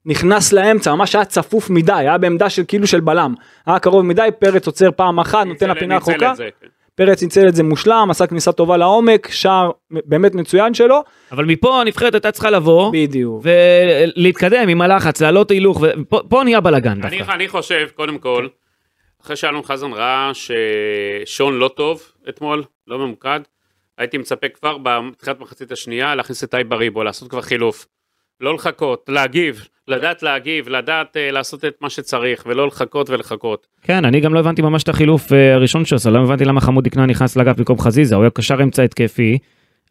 S3: נכנס לאמצע ממש היה צפוף מדי היה בעמדה של כאילו של בלם היה קרוב מדי פרץ עוצר פעם אחת נותן
S4: ניצל-
S3: לפינה
S4: ניצל את
S3: החוקה
S4: זה, כן.
S3: פרץ ניצל את זה מושלם, עשה כניסה טובה לעומק, שער באמת מצוין שלו,
S2: אבל מפה הנבחרת הייתה צריכה לבוא,
S3: בדיוק.
S2: ולהתקדם עם הלחץ, לעלות הילוך, ופה פה נהיה בלאגן
S4: אני,
S2: דווקא.
S4: אני חושב, קודם כל, אחרי שאלון חזן ראה ששון לא טוב אתמול, לא ממוקד, הייתי מצפה כבר בתחילת מחצית השנייה להכניס את טייב בריבו, לעשות כבר חילוף. לא לחכות, להגיב, לדעת להגיב, לדעת אה, לעשות את מה שצריך, ולא לחכות ולחכות.
S2: כן, אני גם לא הבנתי ממש את החילוף אה, הראשון שעשה, לא הבנתי למה חמודי כנען נכנס לאגף במקום חזיזה, הוא היה קשר אמצע התקפי,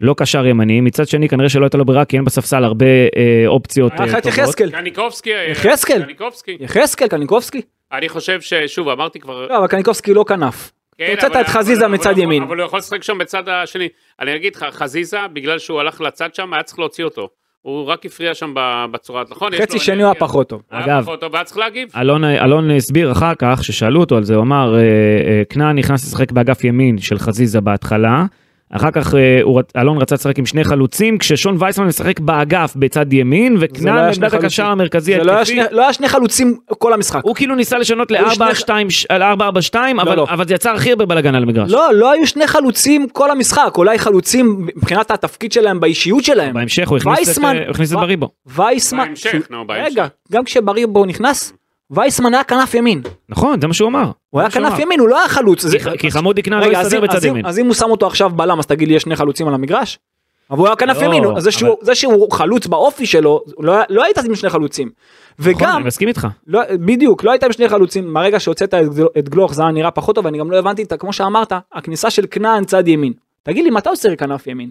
S2: לא קשר ימני, מצד שני כנראה שלא הייתה לו ברירה, כי אין בספסל הרבה אה, אופציות אה,
S3: אחת
S2: טובות.
S3: יחזקאל,
S4: קניקובסקי, אה,
S3: יחזקאל.
S4: קניקובסקי.
S3: יחזקאל, קניקובסקי?
S4: אני חושב ששוב, אמרתי כבר...
S3: לא, אבל קניקובסקי לא כנף.
S4: כן,
S3: הוצאת
S4: אבל-
S3: את חזיזה
S4: אבל-
S3: מצד
S4: אבל-
S3: ימין.
S4: אבל הוא יכול לשחק שם בצד השני. אני אגיד לך, חזיזה, בגלל שהוא הלך לצד שם, היה צריך להוציא אותו. הוא רק הפריע שם ב- בצורה, נכון? יש לו
S3: חצי שני הוא
S4: אנרגיה.
S3: היה פחות טוב.
S4: הוא היה
S2: אגב.
S4: פחות טוב, והיה צריך להגיב.
S2: אלון, אלון הסביר אחר כך, ששאלו אותו על זה, הוא אמר, אה, אה, כנען נכנס לשחק באגף ימין של חזיזה בהתחלה, אחר כך אה, הוא, רצ- אלון רצה לשחק עם שני חלוצים, כששון וייסמן משחק באגף בצד ימין,
S3: לא
S2: וכנען
S3: היה שני
S2: עמדת
S3: חלוצים.
S2: הקשר המרכזי
S3: זה לא היה
S2: התקפי.
S3: שני- לא היה שני חלוצים כל המשחק.
S2: הוא כאילו ניסה לשנות
S3: היו שני-
S2: ל-4-4-2, אבל,
S3: לא.
S2: אבל זה יצר הכי הרבה בלאגן על המגרש.
S3: לא, לא היו שני חלוצים כל המשחק, אולי חלוצים מבחינת התפקיד שלהם, באישיות שלהם.
S2: בהמשך הוא הכניס
S3: וייסמן-
S2: את, אה, הוא הכניס את
S3: ו-
S2: בריבו.
S3: וייסמן...
S4: בהמשך,
S3: שהוא-
S4: נו, בהמשך.
S3: רגע, גם כשבריבו נכנס, וייסמן היה כנף ימין.
S2: נכון, זה מה שהוא אמר.
S3: הוא היה
S2: זה מה שהוא
S3: כנף
S2: אמר.
S3: ימין, הוא לא היה חלוץ. זה-
S2: כי- כי חמודי כנען לא
S3: רגע, אז
S2: הסתדר
S3: אם-
S2: בצד
S3: אז אם-
S2: ימין.
S3: אז אם הוא שם אותו עכשיו בלם, אז תגיד לי, יש שני חלוצים על המגרש? אבל הוא היה כנף
S2: לא,
S3: ימין, אז זה שהוא-
S2: אבל-
S3: זה שהוא חלוץ באופי שלו, לא היה- לא היית עם שני חלוצים.
S2: נכון,
S3: וגם,
S2: אני מסכים איתך.
S3: לא, בדיוק, לא היית עם שני חלוצים, מהרגע שהוצאת את, גל- את גלוך זה היה נראה פחות טוב, ואני גם לא הבנתי את, ה- כמו שאמרת, הכניסה של כנען צד ימין. תגיד לי, מתי הוא שיחק כנף ימין?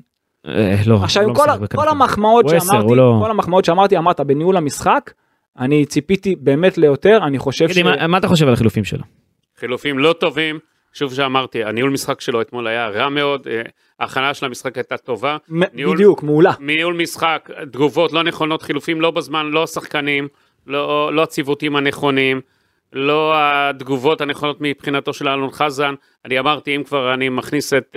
S2: אה, לא,
S3: עכשיו,
S2: הוא
S3: עם
S2: לא
S3: כל, ה-
S2: משחק בכנף.
S3: כל המחמאות
S2: הוא עשר,
S3: שאמרתי,
S2: הוא לא-
S3: כל המחמאות שאמרתי, אמרת בניהול המשחק, אני ציפיתי באמת ליותר, אני חושב
S2: תגיד לי, מה- מה אתה חושב על החילופים שלו?
S4: חילופים לא טובים. שוב שאמרתי, הניהול משחק שלו אתמול היה רע מאוד, אה, ההכנה של המשחק הייתה טובה.
S3: מ-
S4: ניהול-
S3: בדיוק, מעולה.
S4: ניהול משחק, תגובות לא נכונות, חילופים לא בזמן, לא השחקנים, לא, לא הציוותים הנכונים, לא התגובות הנכונות מבחינתו של אלון חזן. אני אמרתי, אם כבר אני מכניס את,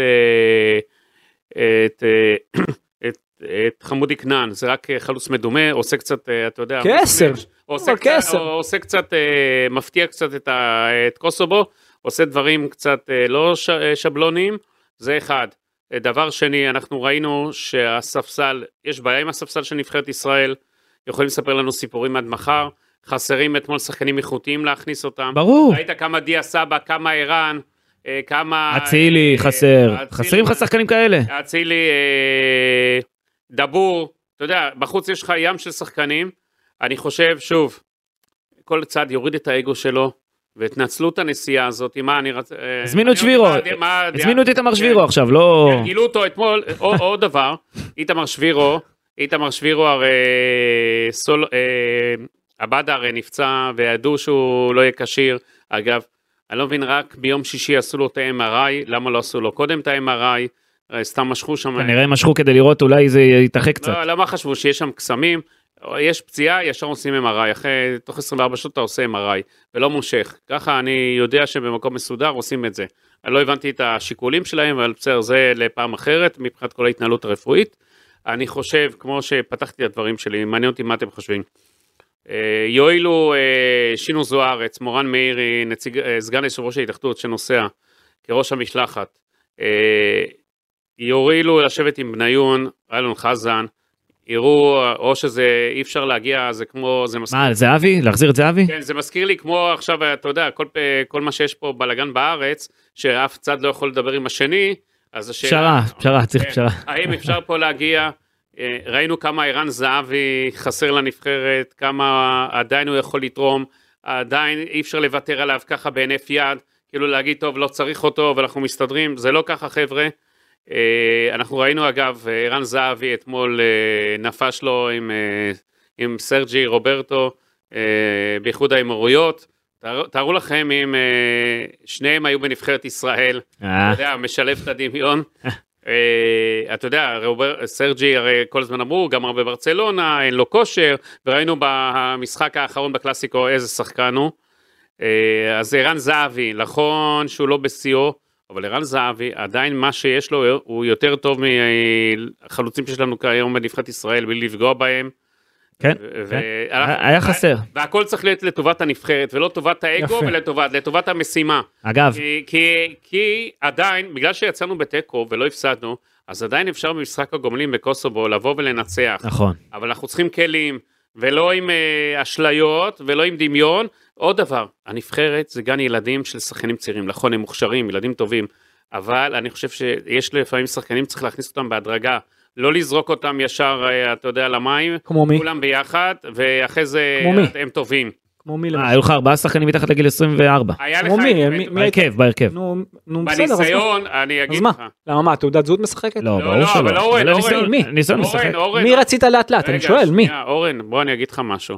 S4: אה, את, אה, את, את חמודי כנען, זה רק אה, חלוץ מדומה, עושה קצת, אה, אתה יודע...
S3: כעשר.
S4: משמש, עושה
S3: אבל
S4: קצת,
S3: כעשר.
S4: עושה קצת אה, מפתיע קצת את, ה, את קוסובו, עושה דברים קצת אה, לא ש, אה, שבלוניים, זה אחד. אה, דבר שני, אנחנו ראינו שהספסל, יש בעיה עם הספסל של נבחרת ישראל, יכולים לספר לנו סיפורים עד מחר, חסרים אתמול שחקנים איכותיים להכניס אותם.
S2: ברור.
S4: ראית כמה דיה סבא, כמה ערן, אה, כמה...
S2: אצילי
S4: אה,
S2: חסר,
S4: אצילי-
S2: חסרים לך שחקנים כאלה.
S4: אצילי, אה, דבור, אתה יודע, בחוץ יש לך ים של שחקנים. אני חושב, שוב, כל צד יוריד את האגו שלו, ותנצלו את הנסיעה הזאת, מה אני רצ... אה,
S2: הזמינו את
S4: אני
S2: שבירו,
S4: יודע מה הדעה- מה הדעה-
S2: הזמינו את איתמר
S4: כן.
S2: שבירו עכשיו, לא...
S4: כן, גילו אותו אתמול, או- עוד דבר, איתמר שבירו, איתמר שבירו הרי סול... אה, עבדה הרי נפצע, וידעו שהוא לא יהיה כשיר. אגב, אני לא מבין, רק ביום שישי עשו לו את ה-MRI, למה לא עשו לו קודם את ה-MRI? הרי אה, סתם משכו שם...
S2: כנראה משכו כדי לראות אולי זה יתאחק קצת.
S4: לא, למה חשבו שיש שם קסמים? יש פציעה, ישר עושים MRI, אחרי, תוך 24 שעות אתה עושה MRI, ולא מושך. ככה אני יודע שבמקום מסודר עושים את זה. אני לא הבנתי את השיקולים שלהם, אבל בסדר, זה לפעם אחרת, מבחינת כל ההתנהלות הרפואית. אני חושב, כמו שפתחתי את הדברים שלי, מעניין אותי מה אתם חושבים. אה, יועילו אה, שינו זוארץ, מורן מאירי, נציג, אה, סגן יושב ראש ההתאחדות שנוסע כראש המשלחת, אה, יועילו לשבת עם בניון, אלון חזן, יראו, או שזה אי אפשר להגיע, זה כמו, זה מס...
S2: מה, זהבי? להחזיר את זהבי?
S4: כן, זה מזכיר לי כמו עכשיו, אתה יודע, כל, פ- כל מה שיש פה בלאגן בארץ, שאף צד לא יכול לדבר עם השני, אז השאלה...
S2: פשרה, פשרה, צריך
S4: כן.
S2: פשרה.
S4: האם אפשר פה להגיע? אה, ראינו כמה ערן זהבי חסר לנבחרת, כמה עדיין הוא יכול לתרום, עדיין אי אפשר לוותר עליו ככה בהינף יד, כאילו להגיד, טוב, לא צריך אותו, ואנחנו מסתדרים, זה לא ככה, חבר'ה. אה, אנחנו ראינו, אגב, אה, ערן זהבי אתמול אה, נפש לו עם, אה, עם סרג'י רוברטו אה, באיחוד האמירויות. תארו- תארו לכם אם אה, שניהם היו בנבחרת ישראל,
S2: אה,
S4: אתה יודע, משלב את הדמיון. אה, אתה יודע, רובר, סרג'י הרי כל הזמן אמרו, הוא גם הרבה בברצלונה, אין לו כושר, וראינו במשחק האחרון בקלאסיקו איזה שחקן הוא. אה, אז ערן זהבי, נכון שהוא לא בשיאו, אבל ערן זהבי, עדיין מה שיש לו הוא יותר טוב מהחלוצים שיש לנו כיום בנבחרת ישראל, בלי לפגוע בהם.
S2: כן,
S4: ו-
S2: כן.
S4: והלך-
S2: היה היה חסר.
S4: והכל צריך להיות לטובת הנבחרת, ולא טובת האגו,
S2: יפה.
S4: ולטובת לטובת המשימה.
S2: אגב,
S4: כי, כי, כי עדיין, בגלל שיצאנו בתיקו ולא הפסדנו, אז עדיין אפשר במשחק הגומלין בקוסובו לבוא ולנצח.
S2: נכון.
S4: אבל אנחנו צריכים כלים, ולא עם אה, אשליות, ולא עם דמיון. עוד דבר, הנבחרת זה גן ילדים של שחקנים צעירים, נכון, הם מוכשרים, ילדים טובים, אבל אני חושב שיש לפעמים שחקנים, צריך להכניס אותם בהדרגה, לא לזרוק אותם ישר, אה, אתה יודע, למים,
S3: כמו מי?
S4: כולם ביחד, ואחרי זה
S3: כמו מי?
S4: הם טובים.
S3: כמו מי?
S2: אה,
S3: למשל?
S2: היו לך ארבעה שחקנים מתחת לגיל 24.
S4: היה לך...
S3: כמו מי?
S4: את-
S3: מי- מי-
S2: בהרכב, בהרכב.
S3: נו, נו, בסדר. אז-
S4: בניסיון, אני
S3: אז
S4: אגיד
S3: מה?
S4: לך.
S3: למה מה, תעודת זהות משחקת?
S2: לא,
S4: לא,
S2: ברור
S4: לא,
S2: שלא.
S4: אבל אורן,
S2: זה לא
S4: אורן,
S2: ניסיון,
S3: מי?
S2: ניסיון משחק.
S4: אורן, לא- אורן.
S3: מי רצית לאט לאט? אני
S4: רגע,
S3: שואל, מי?
S4: שנייה, אורן, בוא אני אגיד לך משהו.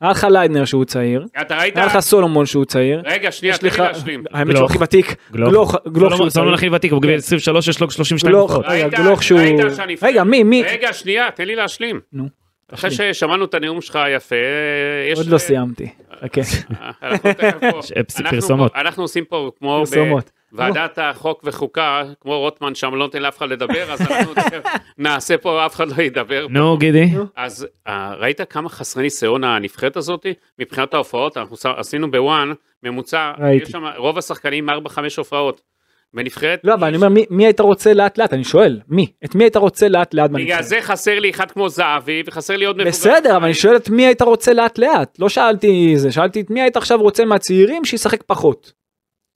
S3: היה לך ליידנר שהוא צעיר,
S4: אתה ראית?
S3: היה לך סולומון שהוא צעיר,
S4: רגע, שנייה,
S3: יש
S4: תן לי
S3: לך,
S4: להשלים.
S3: האמת שהוא
S2: גלוך.
S3: הכי ותיק,
S2: גלוך. לא
S3: גלוך, גלוך
S4: לא
S3: שהוא
S2: סולומון
S3: צעיר,
S2: סולומון הכי ותיק, הוא
S4: כן.
S2: בגיל 23 יש לו 32
S3: גלוך.
S2: דקות.
S3: רגע,
S4: ראית-
S3: גלוך שהוא-
S4: ראית שאני הפרעתי?
S3: רגע, מי, מי?
S4: רגע, שנייה, תן לי להשלים.
S3: נו,
S4: אחרי ששמענו את הנאום שלך היפה, יש...
S3: עוד לא סיימתי, חכה,
S4: אה, אנחנו תכף פה.
S2: יש אפס
S4: אנחנו
S2: פרסומות.
S4: פה- אנחנו עושים פה כמו
S3: פרסומות.
S4: אה, בוועדת החוק וחוקה, כמו רוטמן שם לא נותן לאף אחד לדבר, אז אנחנו תכף נעשה פה, אף אחד לא ידבר.
S2: נו, גידי.
S4: לא, אז אה, ראית כמה חסרי ניסיון הנבחרת הזאת? מבחינת ההופעות, אנחנו ש- עשינו בוואן ממוצע,
S3: ראיתי.
S4: יש שם רוב השחקנים 4-5 הופעות. בנבחרת,
S3: לא אבל אני אומר מי- מי היית רוצה לאט לאט, אני שואל, מי? את מי היית רוצה לאט לאט
S4: בגלל
S3: בנבחרת?
S4: זה חסר לי אחד כמו זהבי, וחסר לי עוד מבוגר.
S3: בסדר אבל אני שואל את מי היית רוצה לאט לאט, לא שאלתי זה, שאלתי את מי היית עכשיו רוצה מהצעירים שישחק פחות.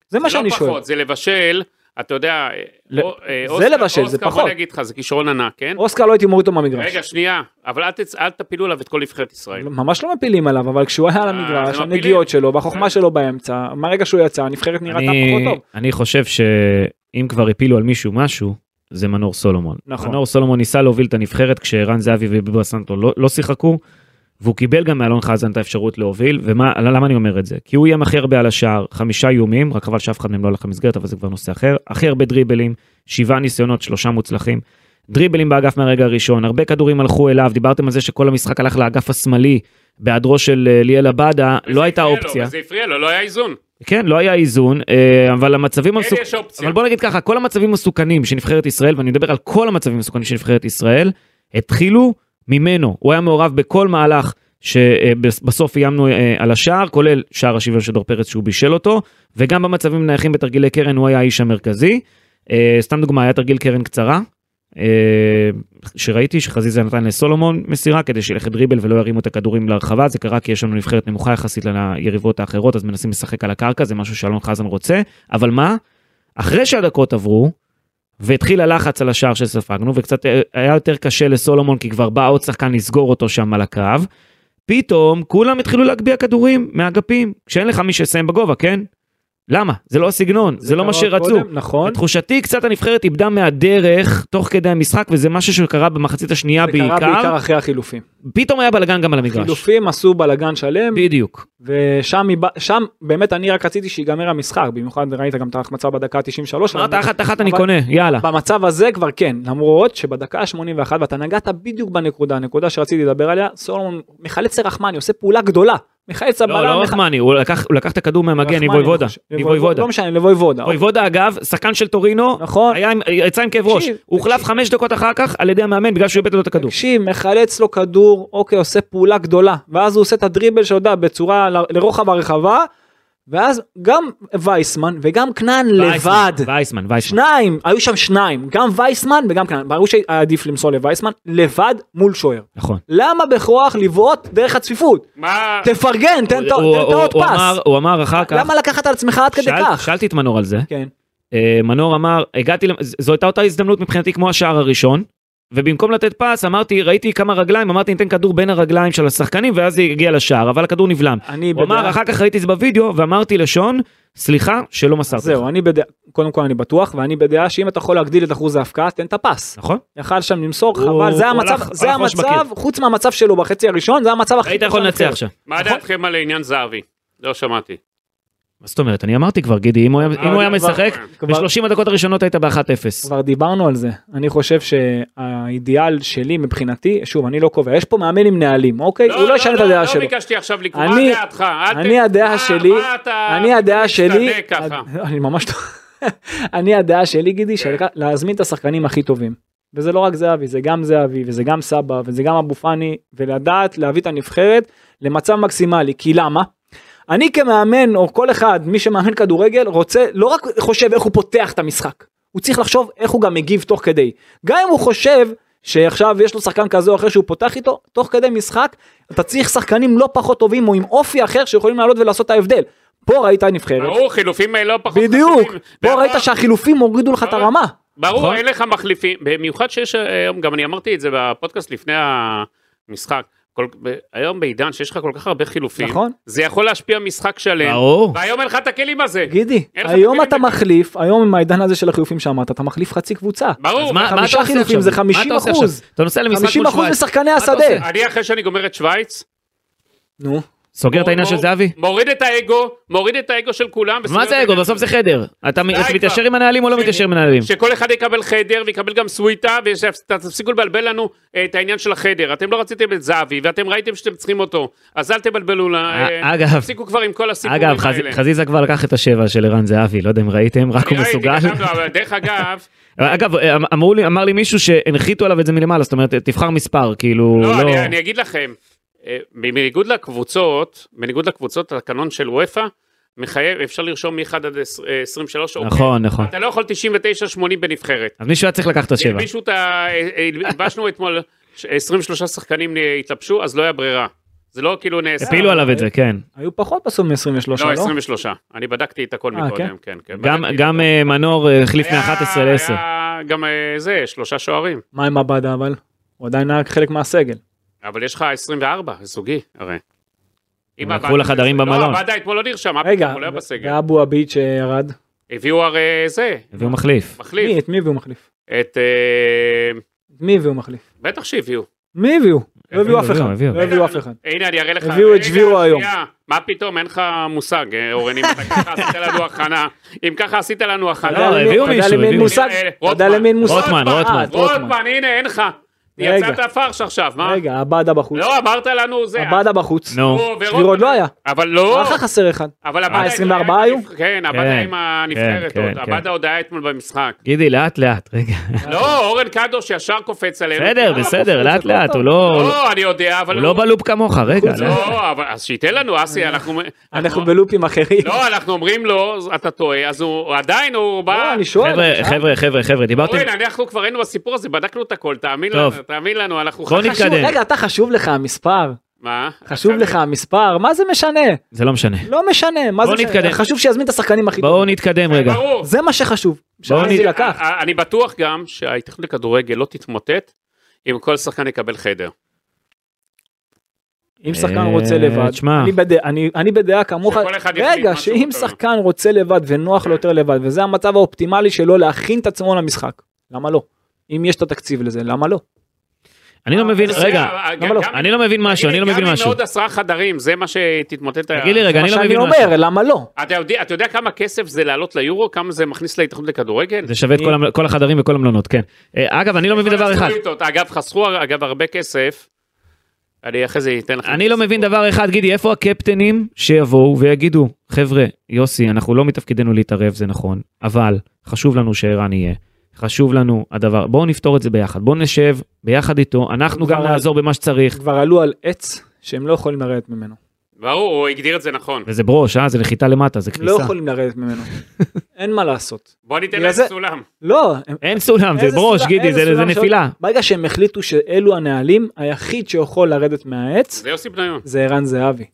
S3: זה
S4: זה
S3: מה שאני
S4: לא
S3: שואל,
S4: פחות, זה לבשל, אתה יודע,
S3: ל-
S4: או- אה,
S3: זה
S4: אוסקר-
S3: לבשל, זה
S4: אוסקר,
S3: פחות.
S4: בוא נגיד לך, זה כישרון ענק, כן?
S3: אוסקר לא הייתי מוריד אותו מהמגרש,
S4: רגע, שנייה, אבל אל תצ- אל תפילו עליו את כל נבחרת ישראל.
S3: ממש לא מפילים עליו אבל כשהוא היה על
S4: אה,
S3: המגרש,
S4: זה מפילים.
S3: הנגיעות שלו והחוכמה
S4: אה.
S3: שלו באמצע, מהרגע שהוא יצא הנבחרת נראתה
S2: אני-
S3: פחות טוב.
S2: אני חושב שאם כבר הפילו על מישהו משהו, זה מנור סולומון.
S3: נכון.
S2: מנור סולומון ניסה להוביל את הנבחרת כשערן זהבי וביבו אסנטו לא, לא שיחקו, והוא קיבל גם מאלון חזן את האפשרות להוביל, ולמה אני אומר את זה? כי הוא איים הכי הרבה על השער, חמישה איומים, רק חבל שאף אחד מהם לא הלך למסגרת, אבל זה כבר נושא אחר, הכי הרבה דריבלים, שבעה ניסיונות, שלושה מוצלחים. דריבלים באגף מהרגע הראשון, הרבה כדורים הלכו אליו, דיברתם על זה שכל המשחק הלך לאגף השמאלי, בהיעדרו של אה, ליאל עבדה,
S4: וזה
S2: לא הייתה
S4: הפריע לו,
S2: אופציה.
S4: וזה הפריע לו, לא היה איזון.
S2: כן, לא היה איזון, אה, אבל המצבים
S4: כן,
S2: המסוכנים,
S4: יש אופציה.
S2: אבל בוא נגיד ככה, כל המצבים המסוכנים שנבחרת ישראל, ואני מדבר על כל המצבים המסוכנים שנבחרת ישראל, התחילו ממנו. הוא היה מעורב בכל מהלך שבסוף איימנו אה, על השער, כולל שער השוויון של דור פרץ שהוא בישל אותו, וגם במצבים נייחים בתרגילי קרן הוא היה האיש המרכזי. אה, סתם דוגמה, היה תרגיל קרן קצרה, אה, שראיתי שחזיזה נתן לסולומון מסירה כדי שילך לדריבל ולא ירימו את הכדורים להרחבה, זה קרה כי יש לנו נבחרת נמוכה יחסית ליריבות האחרות, אז מנסים לשחק על הקרקע, זה משהו שאלון חזן רוצה, אבל מה? אחרי שהדקות עברו, והתחיל הלחץ על השער שספגנו, וקצת אה, היה יותר קשה לסולומון כי כבר בא עוד שחקן לסגור אותו שם על הקו, פתאום כולם התחילו להגביה כדורים מהאגפים, כשאין לך מי שיסיים בגובה, כן? למה? זה לא הסגנון, זה, לא מה
S3: קרה
S2: שרצו.
S3: קודם, נכון.
S2: לתחושתי קצת הנבחרת איבדה מהדרך תוך כדי המשחק וזה משהו שקרה במחצית השנייה
S3: זה קרה בעיקר
S2: בעיקר,
S3: אחרי החילופים.
S2: פתאום היה בלאגן גם על המגרש.
S3: חילופים עשו בלאגן שלם,
S2: בדיוק.
S3: ושם היא- שם באמת אני רק רציתי שיגמר המשחק, במיוחד ראית גם את ההחמצה בדקה ה-93.
S2: אמרת אחת אחת אני
S3: אבל-
S2: קונה, יאללה.
S3: במצב הזה כבר כן, למרות שבדקה ה-81 ואתה נגעת בדיוק בנקודה, הנקודה שרציתי לדבר עליה, סולומון מחלץ לרחמני, עושה פעולה גדולה, מחלץ
S2: לא, לא
S3: מח-
S2: רחמני, הוא לקח הוא לקח את הכדור מהמגן,
S3: רחמני,
S2: ניבויבודה.
S3: אני חושב.
S2: ניבויבודה.
S3: לא משנה, לבויבודה.
S2: ניבויבודה אגב, שחקן של טורינו,
S3: נכון.
S2: היה עם- יצא עם כאב ראש.
S3: תקשיב,
S2: הוא הוחלף
S3: תקשיב.
S2: חמש דקות אחר כך על ידי המאמן בגלל שהוא איבד לו את הכדור.
S3: תקשיב, מחלץ לו כדור, אוקיי, עושה פעולה גדולה, ואז הוא עושה את הדריבל שלו, אתה יודע, בצורה ל- לרוחב הרחבה, ואז גם וייסמן וגם כנען לבד,
S2: וייסמן, וייסמן, וייסמן.
S3: שניים, היו שם שניים, גם וייסמן וגם כנען, ברור שהיה עדיף למסור לווייסמן, לבד מול שוער.
S2: נכון.
S3: למה בכוח לבעוט דרך הצפיפות?
S4: מה...
S3: תפרגן, תן את ה-
S2: הוא-
S3: תן את
S2: הוא-
S3: העוד
S2: הוא אמר-
S3: פס.
S2: הוא אמר אחר כך,
S3: למה לקחת על עצמך עד כדי
S2: שאל-
S3: כך?
S2: שאלתי את מנור על זה,
S3: כן,
S2: אה, מנור אמר, הגעתי, למ- ז- זו הייתה אותה הזדמנות מבחינתי כמו השער הראשון, ובמקום לתת פס אמרתי, ראיתי כמה רגליים, אמרתי ניתן כדור בין הרגליים של השחקנים ואז זה הגיע לשער, אבל הכדור נבלם.
S3: אני
S2: הוא אמר,
S3: בדעה,
S2: אחר כך ראיתי את זה בווידאו ואמרתי לשון, סליחה שלא מסרתי לך.
S3: זהו, אני בדעה, קודם כל אני בטוח, ואני בדעה שאם אתה יכול להגדיל את אחוז ההפקעה, תן את הפס.
S2: נכון?
S3: יכל שם למסור,
S2: הוא-
S3: חבל, זה
S2: הוא
S3: המצב,
S2: הלך-
S3: זה
S2: הלך ראש
S3: המצב, חוץ מהמצב שלו בחצי הראשון, זה המצב הכי...
S2: היית
S3: טוב
S2: יכול
S3: של
S2: לנצח
S3: הנבחרת.
S2: שם.
S4: מה
S3: נכון.
S4: דעתכם על עניין זהבי? לא שמעתי.
S2: מה זאת אומרת? אני אמרתי כבר, גידי, אם הוא היה- אם הוא היה
S3: כבר-
S2: משחק,
S3: כבר-
S2: ב-30 הדקות הראשונות היית ב-1-0.
S3: כבר דיברנו על זה, אני חושב שהאידיאל שלי מבחינתי, שוב, אני לא קובע, יש פה מאמן עם נהלים, אוקיי? הוא לא ישנה את הדעה
S4: לא
S3: שלו.
S4: ביקשתי עכשיו לקרוא, מה
S3: אני-
S4: דעתך? אל ת-
S3: אני הדעה
S4: מה-
S3: שלי,
S4: מה אתה-
S3: אני הדעה שלי,
S4: מסתלק ככה.
S3: אני ממש לא, אני הדעה שלי גידי, שלקח- להזמין את השחקנים הכי טובים. וזה לא רק זהבי, זה גם זהבי, וזה גם סבא, וזה גם אבו פאני, ולדעת להביא את הנבחרת למצב מקסימלי, כי למה? אני כמאמן, או כל אחד, מי שמאמן כדורגל, רוצה, לא רק חושב איך הוא פותח את המשחק, הוא צריך לחשוב איך הוא גם מגיב תוך כדי. גם אם הוא חושב שעכשיו יש לו שחקן כזה או אחר שהוא פותח איתו, תוך כדי משחק, אתה צריך שחקנים לא פחות טובים, או עם אופי אחר שיכולים לעלות ולעשות את ההבדל. פה ראית נבחרת.
S4: ברור, חילופים אה, לא פחות
S3: בדיוק,
S4: חשובים.
S3: פה
S4: בעבר-
S3: ראית שהחילופים הורידו לך את
S4: ברור.
S3: הרמה.
S4: ברור,
S2: נכון.
S4: אין לך מחליפים, במיוחד שיש אה, היום, גם אני אמרתי את זה בפודקאסט לפני המשחק, כל, ב, היום בעידן שיש לך כל כך הרבה חילופים,
S3: נכון.
S4: זה יכול להשפיע משחק שלם,
S2: ברור.
S4: והיום אין לך את הכלים הזה,
S3: גידי,
S4: אין לך
S3: היום
S4: תקציב
S3: אתה
S4: לזה.
S3: מחליף, היום עם העידן הזה של החילופים שאמרת, אתה מחליף חצי קבוצה.
S2: מה-
S4: ברור,
S2: מה אתה
S3: חמישה
S2: עושה
S3: חילופים
S2: עכשיו?
S3: זה
S2: מה
S3: 50%.
S2: אתה עושה עכשיו? אתה נוסע למשחק
S3: 50
S2: מול
S3: אחוז
S2: שווייץ.
S3: משחקני
S2: אתה
S3: השדה.
S2: עושה?
S4: אני אחרי שאני גומר את שווייץ,
S3: נו,
S2: סוגר את
S4: מור-
S2: העניין של
S4: מור-
S2: זהבי?
S4: מוריד את האגו, מוריד את האגו של כולם,
S2: מה זה אגו? בסוף זה חדר. אתה מ-
S4: די
S2: אתה
S4: כבר.
S2: מתיישר עם הנהלים או לא
S4: ש-
S2: מתיישר עם הנהלים?
S4: שכל אחד יקבל חדר ויקבל גם סוויטה, ותפסיקו לבלבל לנו אה, את העניין של החדר. אתם לא רציתם את זהבי, ואתם ראיתם שאתם צריכים אותו, אז אל תבלבלו, לה, אה,
S2: אגב-
S4: תפסיקו כבר עם כל הסיפורים
S2: אגב, חז-
S4: האלה.
S2: חזיזה כבר לקח את השבע של ערן זהבי, לא יודע אם ראיתם, רק הוא
S4: ראיתי, לא.
S2: מסוגל.
S4: כתבנו, אבל דרך אגב,
S2: אגב, אמ- אמרו לי, אמר לי מישהו שהנחיתו עליו את זה מלמעלה, זאת אומרת, תבחר מספר, כאילו,
S4: לא,
S2: לא...
S4: אני, אני אגיד לכם, אה, בניגוד לקבוצות, בניגוד לקבוצות, התקנון של וופא מחייב, אפשר לרשום מ-1 עד עש- אה, 23, אוקיי.
S2: נכון, נכון.
S4: אתה לא יכול 99-80 בנבחרת.
S2: אז מישהו היה צריך לקחת את השבע.
S4: מישהו, את ה- אה, אה, הלבשנו אתמול, ש- 23 שחקנים התלבשו, אז לא היה ברירה. זה לא כאילו נעשה.
S2: הפילו עליו את זה, כן.
S4: אה,
S3: היו פחות בסוף מ-23,
S4: לא,
S3: לא?
S4: 23. אני בדקתי את הכל
S3: אה,
S4: מקודם, כן, כן.
S2: גם-
S4: בדקתי.
S2: גם אה, מנור אה, החליף
S4: היה-
S2: מ-11 ל-10.
S4: היה גם אה, זה, שלושה שוערים.
S3: מה עם עבדה אבל? הוא עדיין היה חלק מהסגל.
S4: אבל יש לך 24, זוגי, הרי. אם
S2: לקחו
S4: עבדה-
S2: לחדרים במלון.
S4: לא, עבדה אתמול לא נרשם, אף
S3: רגע,
S4: פעם הוא לא היה בסגל.
S3: ואבו עביד שירד.
S4: הביאו הרי זה,
S2: והוא מחליף.
S4: מחליף.
S3: מי? את מי הביאו מחליף?
S4: את... אה,
S3: את מי הביאו מחליף?
S4: בטח שהביאו.
S3: מי הביאו? לא הביאו אף
S2: הביאו,
S3: אחד.
S2: הביאו.
S3: לא הביאו אף אחד.
S4: הנה, אני אראה לך.
S3: הביאו את
S4: רגע,
S3: שבירו היום.
S4: שנייה. מה פתאום, אין לך מושג, אה, אורן, אם אתה ככה עשית לנו הכנה. אם ככה עשית לנו
S3: אתה
S4: הכנה.
S3: יודע
S2: לא,
S3: למי-
S2: הביאו
S3: אתה יודע
S2: מישהו,
S3: למי אין
S2: הביאו.
S3: מושג?
S4: אה,
S3: אתה יודע למי אין מושג?
S2: רוטמן,
S3: אה, את
S2: רוטמן.
S4: רוטמן, הנה, אין לך.
S3: רגע.
S4: יצאת פרש עכשיו, מה?
S3: רגע, עבדה בחוץ.
S4: לא, אמרת לנו זה.
S3: עבדה בחוץ.
S2: נו.
S4: הוא ורוטמן.
S3: שבירו עוד לא היה.
S4: אבל לא.
S3: רק חסר אחד.
S4: אבל עבדה...
S3: אה, 24
S4: עם-
S3: היו?
S4: כן, עבדה
S2: כן,
S4: עם הנבחרת.
S2: כן,
S4: עוד.
S2: כן.
S4: עבדה עוד היה אתמול במשחק.
S2: גידי, לאט לאט, רגע.
S4: לא, אורן קדוש ישר קופץ עלינו.
S2: בסדר,
S4: למה?
S2: בסדר, לאט
S4: אה,
S2: לאט, הוא לא...
S4: לא, אני יודע, אבל...
S2: הוא לא בלופ כמוך, רגע.
S3: חוץ
S2: לאט.
S4: לא, אבל אז שייתן לנו, אסי, אנחנו...
S3: אנחנו בלופים אחרים.
S4: לא, אנחנו אומרים לו, אז אתה טועה, אז הוא עדיין, הוא
S3: לא,
S4: בא...
S3: אני שואל.
S2: חבר'ה,
S4: אה,
S3: אני שואל.
S2: חבר'ה, חבר'ה, חבר'ה, דיברתם...
S4: אורן, אנחנו כבר היינו בסיפור הזה, בדקנו את הכל, תאמין
S2: טוב.
S4: לנו, תאמין לנו, אנחנו...
S2: בוא
S4: חכמים.
S2: נתקדם.
S3: חשוב- רגע, אתה חשוב לך המספר?
S4: מה?
S3: חשוב לך המספר? מה זה משנה?
S2: זה לא
S4: אה,
S2: משנה.
S3: לא משנה, מה
S2: בוא
S3: זה משנה?
S2: נתקדם.
S3: חשוב שיזמין את השחקנים הכי טובים.
S2: בואו
S4: אה,
S2: נתקדם רגע.
S4: ברור.
S3: זה מה שחשוב. שאני
S2: נ-
S3: לקח.
S4: א- א- אני בטוח גם שההתאחדות לכדורגל לא תתמוטט אם כל שחקן יקבל חדר.
S3: אם שחקן
S2: אה,
S3: רוצה לבד,
S2: תשמע.
S3: אני בדעה- אני- אני בדעה כמוך,
S4: שכל אחד יחליט
S3: רגע,
S4: מה שהוא
S3: שאם
S4: רוצה.
S3: שחקן רוצה לבד ונוח לו יותר לבד, וזה המצב האופטימלי שלו להכין את עצמו למשחק, למה לא? אם יש את התקציב לזה, למה לא?
S2: אני לא מבין,
S4: זה-
S2: רגע,
S4: גם-
S3: לא?
S4: גם-
S2: אני לא מבין משהו, אני לא מבין
S4: גם אם
S2: משהו.
S4: עוד עשרה חדרים, זה מה שתתמוטט... ה-
S2: תגיד לי רגע,
S3: מה
S2: אני לא
S3: שאני
S2: מבין
S3: אומר,
S2: משהו.
S3: למה לא?
S4: אתה יודע, אתה יודע כמה כסף זה לעלות ליורו? כמה זה מכניס להתאחדות לכדורגל?
S2: זה שווה את כל המל- כל החדרים וכל המלונות, כן. אה, אגב, אני לא מבין דבר אחד.
S4: הסטריטות. אגב, חסכו אגב הרבה כסף. אני אחרי זה אתן לכם.
S2: אני לא מבין דבר אחד, גידי, איפה הקפטנים שיבואו ויגידו, חבר'ה, יוסי, אנחנו לא מתפקידנו להתערב, זה נכון, אבל חשוב לנו שערן יהיה. חשוב לנו הדבר, בואו נפתור את זה ביחד, בואו נשב ביחד איתו, אנחנו גם
S3: כבר-
S2: נעזור במה שצריך.
S3: כבר עלו על עץ שהם לא יכולים לרדת ממנו.
S4: ברור, הוא הגדיר את זה נכון.
S2: וזה ברוש, אה? זה נחיתה למטה, זה
S3: הם לא
S2: כניסה.
S3: יכולים לרדת ממנו. אין מה לעשות.
S4: בוא ניתן
S3: בגלל
S4: להם
S3: זה-
S4: סולם.
S3: לא, הם-
S2: אין סולם, זה
S3: איזה
S2: ברוש,
S3: סולם-
S2: גידי,
S3: איזה
S2: זה- זה
S3: סולם שעוד-
S2: נפילה.
S3: ברגע שהם החליטו שאלו הנהלים, היחיד שיכול לרדת מהעץ
S4: זה יוסי בניון.
S3: זה ערן זהבי.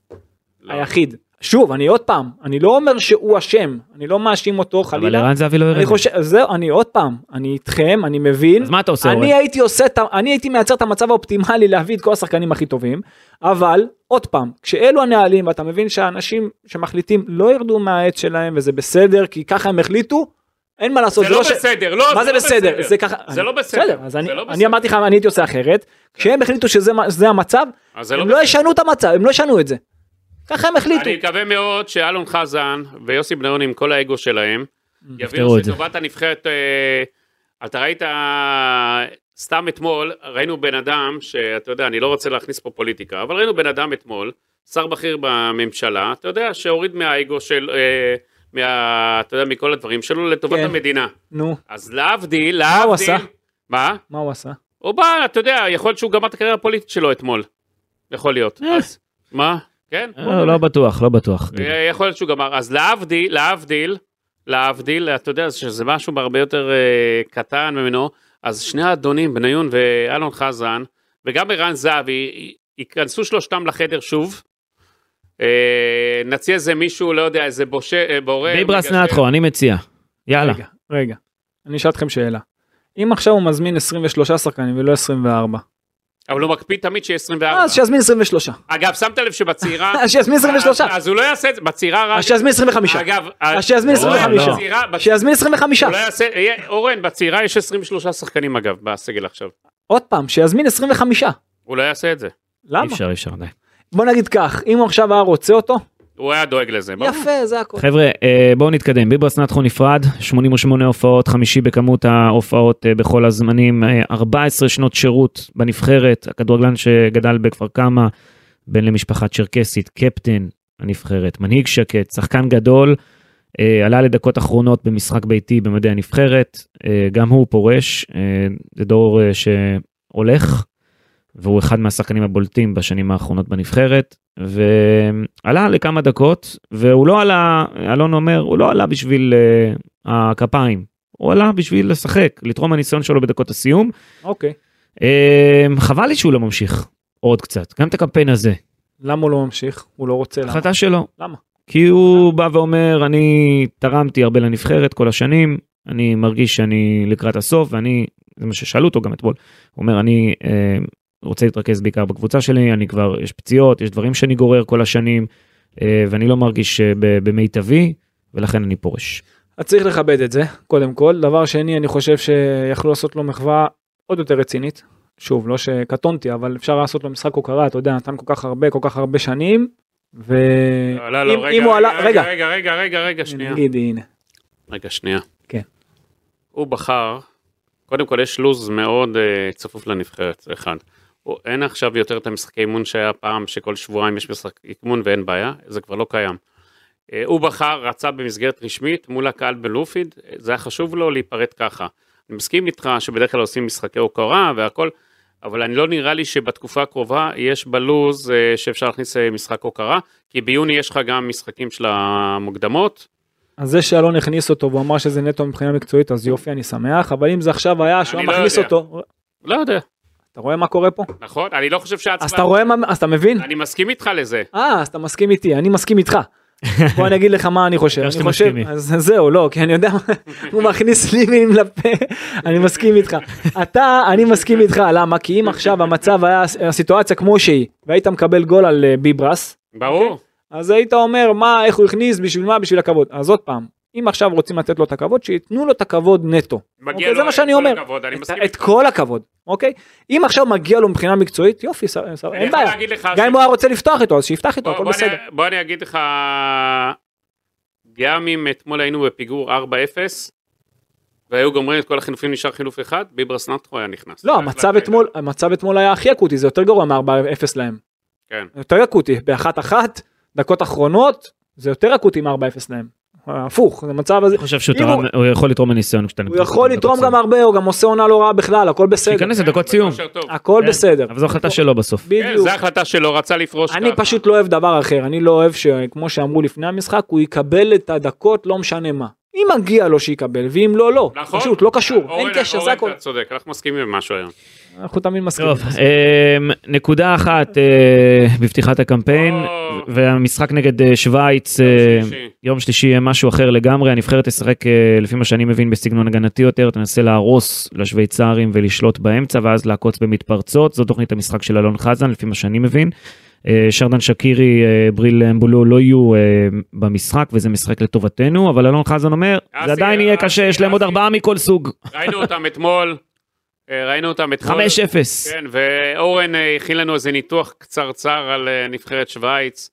S4: לא.
S3: היחיד. שוב, אני עוד פעם, אני לא אומר שהוא אשם, אני לא מאשים אותו
S2: אבל
S3: חלילה.
S2: ערן זהבי לא ירד.
S3: אני חושב, זהו, אני עוד פעם, אני איתכם, אני מבין.
S2: אז מה אתה עושה, אורן?
S3: אני הייתי עושה, את ה- אני הייתי מייצר את המצב האופטימלי להביא את כל השחקנים הכי טובים, אבל עוד פעם, כשאלו הנהלים ואתה מבין שהאנשים שמחליטים לא ירדו מהעץ שלהם וזה בסדר, כי ככה הם החליטו, אין מה לעשות.
S4: זה לא
S3: ש-
S4: בסדר, לא,
S3: מה זה בסדר? זה ככה...
S4: זה
S3: אני-
S4: לא בסדר.
S3: אז
S4: זה
S3: אני-
S4: לא
S3: אני
S4: בסדר. כן.
S3: אמרתי לך, אני הייתי עושה אחרת. כשהם החליטו שזה מה- שזה המצב,
S4: אז זה לא
S3: הם לא ישנו את המצב, הם לא ישנו את זה. ככה הם החליטו.
S4: אני מקווה מאוד שאלון חזן ויוסי בניון עם כל האגו שלהם,
S2: יפתרו
S4: יבינו
S2: את זה.
S4: שטובת הנבחרת, אה, אתה ראית, אה, סתם אתמול, ראינו בן אדם, שאתה יודע, אני לא רוצה להכניס פה פוליטיקה, אבל ראינו בן אדם אתמול, שר בכיר בממשלה, אתה יודע, שהוריד מהאגו של, אה, מה, אתה יודע, מכל הדברים שלו לטובת
S3: כן.
S4: המדינה.
S3: נו,
S4: אז להבדיל,
S3: מה הוא
S4: להבדיל,
S3: עשה?
S4: מה?
S3: מה הוא עשה?
S4: הוא בא, אתה יודע, יכול להיות שהוא גמר את הקריירה הפוליטית שלו אתמול. יכול להיות.
S2: אה.
S4: אז, מה? כן?
S2: אה, לא בטוח, לא בטוח.
S4: אה, יכול להיות שהוא גמר. אז להבדיל, להבדיל, להבדיל, אתה יודע שזה משהו הרבה יותר אה, קטן ממנו, אז שני האדונים, בניון ואלון חזן, וגם ערן זהבי, י- ייכנסו שלושתם לחדר שוב. אה, נציע איזה מישהו, לא יודע, איזה בושה, אה, בורא.
S2: ביברס
S4: מגשר.
S2: נתחו, אני מציע. יאללה.
S3: רגע, רגע. אני אשאל אתכם שאלה. אם עכשיו הוא מזמין 23 שחקנים ולא 24,
S4: אבל הוא מקפיד תמיד
S2: אה,
S4: שיהיה 24.
S3: אז שיזמין 23.
S4: אגב, שמת לב שבצעירה...
S3: אז שיזמין 23.
S4: אז- אז הוא לא יעשה את זה, בצעירה רק...
S3: אז שיזמין 25.
S4: אגב...
S3: אז שיזמין
S4: אורן,
S2: 25.
S4: בצעירה- בצ-
S3: שיזמין 25.
S4: הוא לא יעשה... אה, אורן, בצעירה יש 23 שחקנים אגב, בסגל עכשיו.
S3: עוד פעם, שיזמין 25.
S4: הוא לא יעשה את זה.
S2: אי
S3: למה?
S2: אפשר, אי אפשר, די.
S3: בוא נגיד כך, אם הוא עכשיו היה רוצה אותו,
S4: הוא היה דואג לזה. ברור.
S3: יפה, זה הכל.
S2: חבר'ה, אה, בואו נתקדם. ביברס נתחו נפרד, 88 הופעות, חמישי בכמות ההופעות אה, בכל הזמנים, אה, 14 שנות שירות בנבחרת, הכדורגלן שגדל בכפר קמא, בן למשפחה צ'רקסית, קפטן הנבחרת, מנהיג שקט, שחקן גדול, אה, עלה לדקות אחרונות במשחק ביתי במדעי הנבחרת, אה, גם הוא פורש, אה, זה דור אה, שהולך. והוא אחד מהשחקנים הבולטים בשנים האחרונות בנבחרת, ועלה לכמה דקות, והוא לא עלה, אלון אומר, הוא לא עלה בשביל uh, הכפיים, הוא עלה בשביל לשחק, לתרום הניסיון שלו בדקות הסיום.
S3: אוקיי.
S2: Uh, חבל לי שהוא לא ממשיך עוד קצת, גם את הקמפיין הזה,
S3: למה הוא לא ממשיך? הוא לא רוצה למה.
S2: החלטה שלו.
S3: למה?
S2: כי הוא בא ואומר, אני תרמתי הרבה לנבחרת כל השנים, אני מרגיש שאני לקראת הסוף, ואני, זה מה ששאלו אותו גם אתמול, הוא אומר, אני אה, רוצה להתרכז בעיקר בקבוצה שלי, אני כבר, יש פציעות, יש דברים שאני גורר כל השנים, אה, ואני לא מרגיש אה, ב- במיטבי, ולכן אני פורש.
S3: אז צריך לכבד את זה, קודם כל. דבר שני, אני חושב שיכלו לעשות לו מחווה עוד יותר רצינית. שוב, לא שקטונתי, אבל אפשר לעשות לו משחק הוקרה, אתה יודע, נתן כל כך הרבה, כל כך הרבה שנים, ו...
S4: לא, לא,
S3: אם-
S4: לא,
S3: אם הוא עלה, רגע,
S4: רגע, רגע, רגע, רגע, רגע, שנייה.
S3: נגיד, הנה.
S4: רגע, שנייה.
S3: כן.
S4: הוא בחר, קודם כל יש לו"ז מאוד אה, צפוף לנבחרת, אחד. הוא, אין עכשיו יותר את המשחקי אימון שהיה פעם, שכל שבועיים יש משחק אימון ואין בעיה, זה כבר לא קיים. אה, הוא בחר, רצה במסגרת רשמית מול הקהל בלופיד, אה, זה היה חשוב לו להיפרד ככה. אני מסכים איתך שבדרך כלל עושים משחקי הוקרה והכל, אבל אני לא נראה לי שבתקופה הקרובה יש בלו"ז אה, שאפשר להכניס אה, משחק הוקרה, כי ביוני יש לך גם משחקים של המוקדמות.
S3: אז זה שאלון הכניס אותו והוא אמר שזה נטו מבחינה מקצועית, אז יופי, אני שמח, אבל אם זה עכשיו היה, שהוא היה
S4: לא
S3: מכניס
S4: יודע.
S3: אותו,
S4: לא יודע.
S3: אתה רואה מה קורה פה?
S4: נכון, אני לא חושב שהיה
S3: אז
S4: צריך...
S3: אתה רואה מה, אז אתה מבין?
S4: אני מסכים איתך לזה.
S3: אה, אז אתה מסכים איתי, אני מסכים איתך. בוא אני אגיד לך מה אני חושב.
S2: בעיקר
S3: אני
S2: שאתם
S3: חושב,
S2: מסכימים.
S3: אז זהו, לא, כי אני יודע, הוא מכניס לי מילים לפה, אני מסכים איתך. אתה, אני מסכים איתך, למה? כי אם עכשיו המצב היה, הסיטואציה כמו שהיא, והיית מקבל גול על אה, ביברס,
S4: ברור.
S3: אז היית אומר, מה, איך הוא הכניס, בשביל מה, בשביל הכבוד. אז עוד פעם, אם עכשיו רוצים לתת לו את הכבוד, שייתנו לו את הכבוד נטו.
S4: מגיע
S3: אוקיי,
S4: לו
S3: זה מה
S4: את
S3: שאני
S4: כל
S3: אומר.
S4: הכבוד, אני
S3: את-
S4: מסכים
S3: את
S4: איתך.
S3: כל הכבוד, אוקיי? אם עכשיו מגיע לו מבחינה מקצועית, יופי, ס- ס-
S4: אני
S3: אין
S4: יכול
S3: בעיה.
S4: להגיד לך ש-
S3: גם אם הוא היה רוצה לפתוח איתו, אז שיפתח איתו,
S4: בוא-
S3: הכל
S4: בוא אני-
S3: בסדר.
S4: בוא אני אגיד לך, גם אם אתמול היינו בפיגור 4-0, והיו גומרים את כל החילופים, נשאר חילוף אחד, ביברס נטחו היה נכנס.
S3: לא,
S4: אוקיי.
S3: המצב אתמול, המצב אתמול היה הכי אקוטי, זה יותר גרוע מ-4-0 להם.
S4: כן.
S3: יותר אקוטי, באחת אחת, דקות אחרונות, זה יותר אקוטי מ-4-0 להם. הפוך, זה מצב הזה.
S2: אני חושב שהוא
S3: אם
S2: תרם,
S3: הוא-
S2: הוא יכול לתרום לניסיון כשאתה
S3: הוא יכול לתרום גם הרבה, הוא גם עושה עונה לא רעה בכלל, הכל בסדר.
S2: שייכנס
S4: כן,
S2: לדקות
S4: אבל
S2: סיום.
S4: כושר טוב.
S3: הכל
S2: כן,
S3: בסדר.
S2: אבל זו החלטה שלו בסוף.
S4: כן,
S3: בדיוק.
S4: זו החלטה שלו, רצה לפרוש ככה.
S3: אני פשוט לא אוהב דבר אחר, אני לא אוהב שכמו שאמרו לפני המשחק, הוא יקבל את הדקות לא משנה מה. אם מגיע לו שיקבל, ואם לא, לא.
S4: נכון.
S3: פשוט לא קשור, אין
S4: אורן-
S3: קשר, זה
S4: אורן,
S3: הכל.
S4: אתה צודק, אנחנו מסכימים במשהו היום.
S3: אנחנו תמיד מסכימים.
S2: טוב, אמ, נקודה אחת אה, בפתיחת הקמפיין,
S4: או.
S2: והמשחק נגד אה, שווייץ, אה,
S4: שלישי.
S2: יום שלישי יהיה משהו אחר לגמרי, הנבחרת תשחק אה, לפי מה שאני מבין בסגנון הגנתי יותר, תנסה להרוס לשוויצרים ולשלוט באמצע, ואז לעקוץ במתפרצות, זו תוכנית המשחק של אלון חזן, לפי מה שאני מבין. אה, שרדן שקירי, אה, בריל אמבולו לא יהיו אה, במשחק, וזה משחק לטובתנו, אבל אלון חזן אומר,
S4: אסי,
S2: זה עדיין יהיה
S4: אסי,
S2: קשה, יש להם עוד
S4: אסי.
S2: ארבעה מכל סוג,
S4: ראינו אותם אתמול, אה, ראינו אותם אתמול.
S2: 5-0.
S4: כן, ואורן אה, הכין לנו איזה ניתוח קצרצר על אה, נבחרת שווייץ.